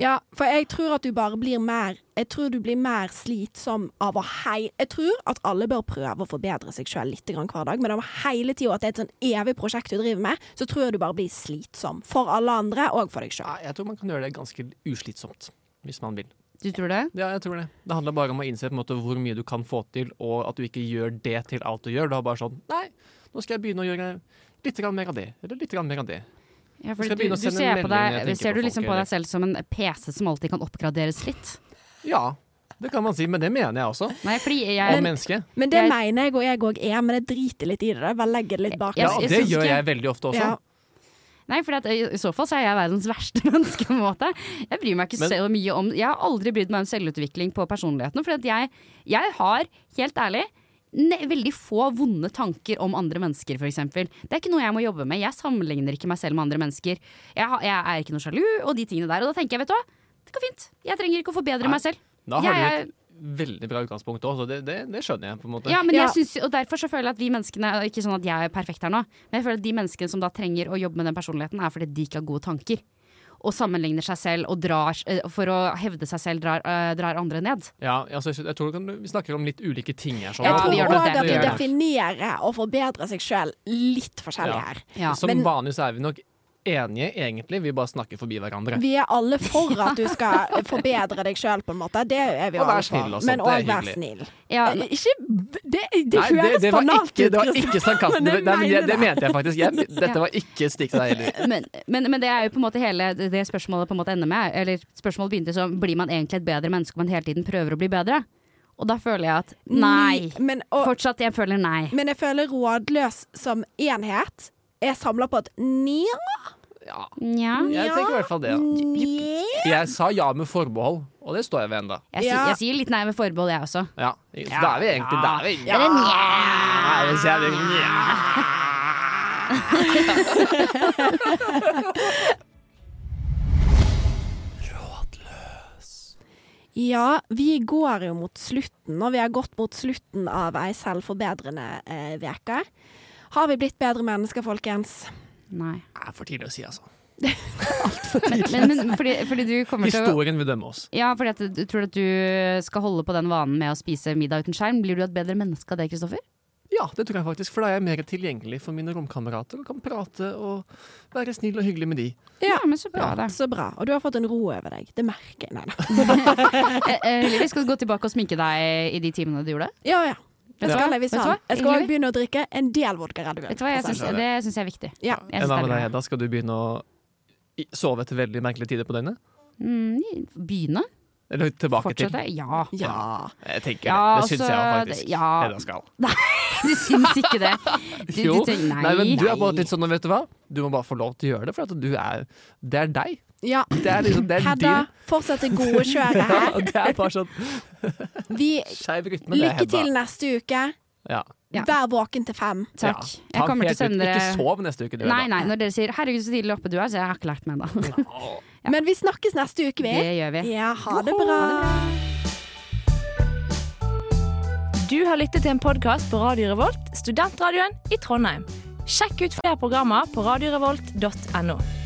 Speaker 4: Ja, for jeg tror at du bare blir mer Jeg tror du blir mer slitsom av å hei... Jeg tror at alle bør prøve å forbedre seg sjøl litt grann hver dag, men om hele tida at det er et sånn evig prosjekt du driver med, så tror jeg du bare blir slitsom. For alle andre og for deg sjøl.
Speaker 5: Nei, Jeg tror man kan gjøre det ganske uslitsomt, hvis man vil.
Speaker 3: Du tror det?
Speaker 5: Ja, jeg tror det. Det handler bare om å innse på en måte hvor mye du kan få til, og at du ikke gjør det til alt du gjør. Du har bare sånn Nei, nå skal jeg begynne å gjøre litt grann mer av det, eller litt grann mer av det.
Speaker 3: Ja,
Speaker 5: Skal
Speaker 3: for
Speaker 5: jeg
Speaker 3: du,
Speaker 5: begynne å
Speaker 3: du
Speaker 5: sende
Speaker 3: ser, på
Speaker 5: meldinger jeg
Speaker 3: deg,
Speaker 5: tenker
Speaker 3: ser
Speaker 5: på
Speaker 3: du
Speaker 5: folk,
Speaker 3: liksom på
Speaker 5: eller?
Speaker 3: deg selv som en PC som alltid kan oppgraderes litt.
Speaker 5: Ja, det kan man si, men det mener jeg også.
Speaker 3: Nei, fordi
Speaker 5: Om
Speaker 3: jeg
Speaker 5: mennesket.
Speaker 4: Men det
Speaker 3: Jeg-
Speaker 4: mener jeg og jeg òg er, men jeg driter litt i det. der. Bare legger det litt bak
Speaker 5: Ja,
Speaker 3: Jeg-
Speaker 5: og
Speaker 3: jeg
Speaker 5: det
Speaker 3: synes
Speaker 5: gjør
Speaker 3: ikke-
Speaker 5: jeg veldig ofte også.
Speaker 4: Ja.
Speaker 3: Nei, for at, eh, i så fall så er jeg verdens verste menneske. på en måte Jeg bryr meg ikke
Speaker 5: Men-
Speaker 3: så mye om Jeg har aldri brydd meg om selvutvikling på personligheten. For at jeg, jeg har, helt ærlig, ne veldig få vonde tanker om andre mennesker, f.eks. Det er ikke noe jeg må jobbe med. Jeg sammenligner ikke meg selv med andre mennesker. Jeg, har, jeg er ikke noe sjalu og de tingene der. Og da tenker jeg, vet du hva, det går fint. Jeg trenger ikke å forbedre
Speaker 5: Nei.
Speaker 3: meg selv.
Speaker 5: Da har
Speaker 3: jeg,
Speaker 5: du et veldig bra utgangspunkt òg, så det, det, det skjønner jeg på en måte.
Speaker 3: Ja, men
Speaker 4: Ja.
Speaker 3: jeg synes, og derfor så føler jeg at vi menneskene og Ikke sånn at jeg er perfekt her nå Men jeg føler at de menneskene som da trenger å jobbe med den personligheten Er fordi de ikke har gode tanker Og sammenligner seg selv og drar eh, For å hevde seg selv drar, eh, drar andre ned
Speaker 5: Ja, altså, jeg skjønner- jeg tror du kan, vi snakker om litt ulike ting her. Sånn.
Speaker 4: Jeg
Speaker 3: Ja,
Speaker 4: tror
Speaker 3: vi gjør
Speaker 4: òg
Speaker 3: nok det,
Speaker 4: at
Speaker 3: vi
Speaker 4: vi
Speaker 3: gjør nok.
Speaker 4: definerer å forbedre seg sjøl litt forskjellig
Speaker 5: Ja.
Speaker 4: her.
Speaker 3: ja.
Speaker 5: Som
Speaker 4: men-
Speaker 5: vanlig så er vi nok enige, egentlig. Vi bare snakker forbi hverandre.
Speaker 4: Vi er alle for at du skal forbedre deg sjøl, på en måte. Det er vi
Speaker 5: Og vær
Speaker 4: alle for.
Speaker 5: snill og sånt,
Speaker 4: Men
Speaker 5: det er
Speaker 4: òg vær
Speaker 5: hyggelig.
Speaker 4: snill.
Speaker 3: Ja,
Speaker 4: Eh, Ikke Det, det
Speaker 5: Nei,
Speaker 4: høres
Speaker 5: det var
Speaker 4: banalt
Speaker 5: ikke,
Speaker 4: ut,
Speaker 5: det var
Speaker 4: Kristian.
Speaker 5: ikke
Speaker 4: Men
Speaker 5: sarkasme. Nei,
Speaker 4: jeg
Speaker 5: men
Speaker 4: mener
Speaker 5: det, det
Speaker 4: det.
Speaker 5: mente jeg faktisk. Jeg,
Speaker 3: Ja.
Speaker 5: dette var ikke et stikk til deg heller.
Speaker 3: men, men, men det er jo på en måte hele Det spørsmålet på en måte ender med Eller spørsmålet begynte som Blir man egentlig et bedre menneske Om man hele tiden prøver å bli bedre Og da føler jeg at
Speaker 4: Mm.
Speaker 3: Nei
Speaker 4: Men, og,
Speaker 3: Fortsatt jeg føler nei
Speaker 4: men jeg føler rådløs som enhet er samla på et nja,
Speaker 5: Ja,
Speaker 3: Nja
Speaker 5: jeg tenker i hvert fall det. Ja.
Speaker 4: nja
Speaker 5: Jeg sa ja med forbehold, og det står jeg ved ennå.
Speaker 3: jeg, sier-
Speaker 4: Ja.
Speaker 3: jeg sier litt nei med forbehold jeg også
Speaker 5: Ja. Så da er vi egentlig da er vi egentlig-
Speaker 3: Eller nja
Speaker 5: Nei, hvis jeg vil- Nja.
Speaker 4: Ja, vi går jo mot slutten, og vi har gått mot slutten av ei selvforbedrende eh, veke. Har vi blitt bedre mennesker, folkens?
Speaker 3: Nei
Speaker 5: Det er for tidlig å si, altså.
Speaker 3: Men, men fordi, fordi du kommer til å
Speaker 5: Historien vil dømme oss.
Speaker 3: Ja, fordi at du tror at du skal holde på den vanen med å spise middag uten skjerm. Blir du et bedre menneske av det, Kristoffer?
Speaker 5: Ja, det tror jeg faktisk, for da er jeg mer tilgjengelig for mine romkamerater og kan prate og være snill og hyggelig med de.
Speaker 4: Ja.
Speaker 3: men så bra, da.
Speaker 4: Så bra. Og du har fått en ro over deg. Det merker jeg. Nei da.
Speaker 3: Eh, eh, Livi, skal du gå tilbake og sminke deg i de timene du gjorde?
Speaker 4: Ja, ja. Det
Speaker 3: Ja.
Speaker 4: skal jeg hvis
Speaker 3: Vet du
Speaker 4: han.
Speaker 3: hva?
Speaker 4: Jeg skal
Speaker 3: Egentlig-
Speaker 4: òg begynne å drikke en del vodka Red Bull. Altså,
Speaker 3: Vet du hva, jeg synes, Det syns jeg er viktig.
Speaker 4: Ja.
Speaker 3: Jeg synes
Speaker 5: Hva med
Speaker 3: det
Speaker 5: deg,
Speaker 3: er bra.
Speaker 5: Hedda? Skal du begynne å i- sove etter veldig merkelige tider på døgnet?
Speaker 3: Mm, Begynne?
Speaker 5: Eller tilbake til?
Speaker 3: Fortsette? Ja.
Speaker 4: Ja.
Speaker 5: Jeg tenker
Speaker 3: Ja,
Speaker 5: det. Det syns
Speaker 3: altså,
Speaker 5: jeg faktisk.
Speaker 3: det- ja.
Speaker 5: Hedda skal.
Speaker 3: Du syns ikke det? Du,
Speaker 5: Jo.
Speaker 3: du tenker, nei,
Speaker 5: Nei, men du er bare
Speaker 3: nei.
Speaker 5: litt sånn, og vet du hva? Du må bare få lov til å gjøre det, for at du er Det er deg.
Speaker 4: ja.
Speaker 5: Det er liksom, det er
Speaker 4: Hedda, fortsett det gode kjøret
Speaker 5: Ja,
Speaker 4: her.
Speaker 5: og det er bare sånn
Speaker 4: Vi,
Speaker 5: skeiv rytme. det er
Speaker 4: lykke
Speaker 5: Hedda.
Speaker 4: til neste uke.
Speaker 5: Ja.
Speaker 3: Ja.
Speaker 4: Vær våken til fem.
Speaker 5: Ja.
Speaker 3: Takk. Jeg
Speaker 5: Ta
Speaker 3: kommer til
Speaker 5: helt
Speaker 3: å sende
Speaker 5: ut.
Speaker 3: dere
Speaker 5: Ikke sov neste uke, du.
Speaker 3: Nei,
Speaker 5: Hedda.
Speaker 3: nei, når dere sier 'herregud, så tidlig oppe du er', så jeg har ikke lært meg ennå.
Speaker 4: Men vi snakkes neste uke, vi.
Speaker 3: Det gjør vi.
Speaker 4: Ja, ha det bra.
Speaker 9: Du har lyttet til en podkast på Radio Revolt, studentradioen i Trondheim. Sjekk ut flere programmer på radiorevolt.no.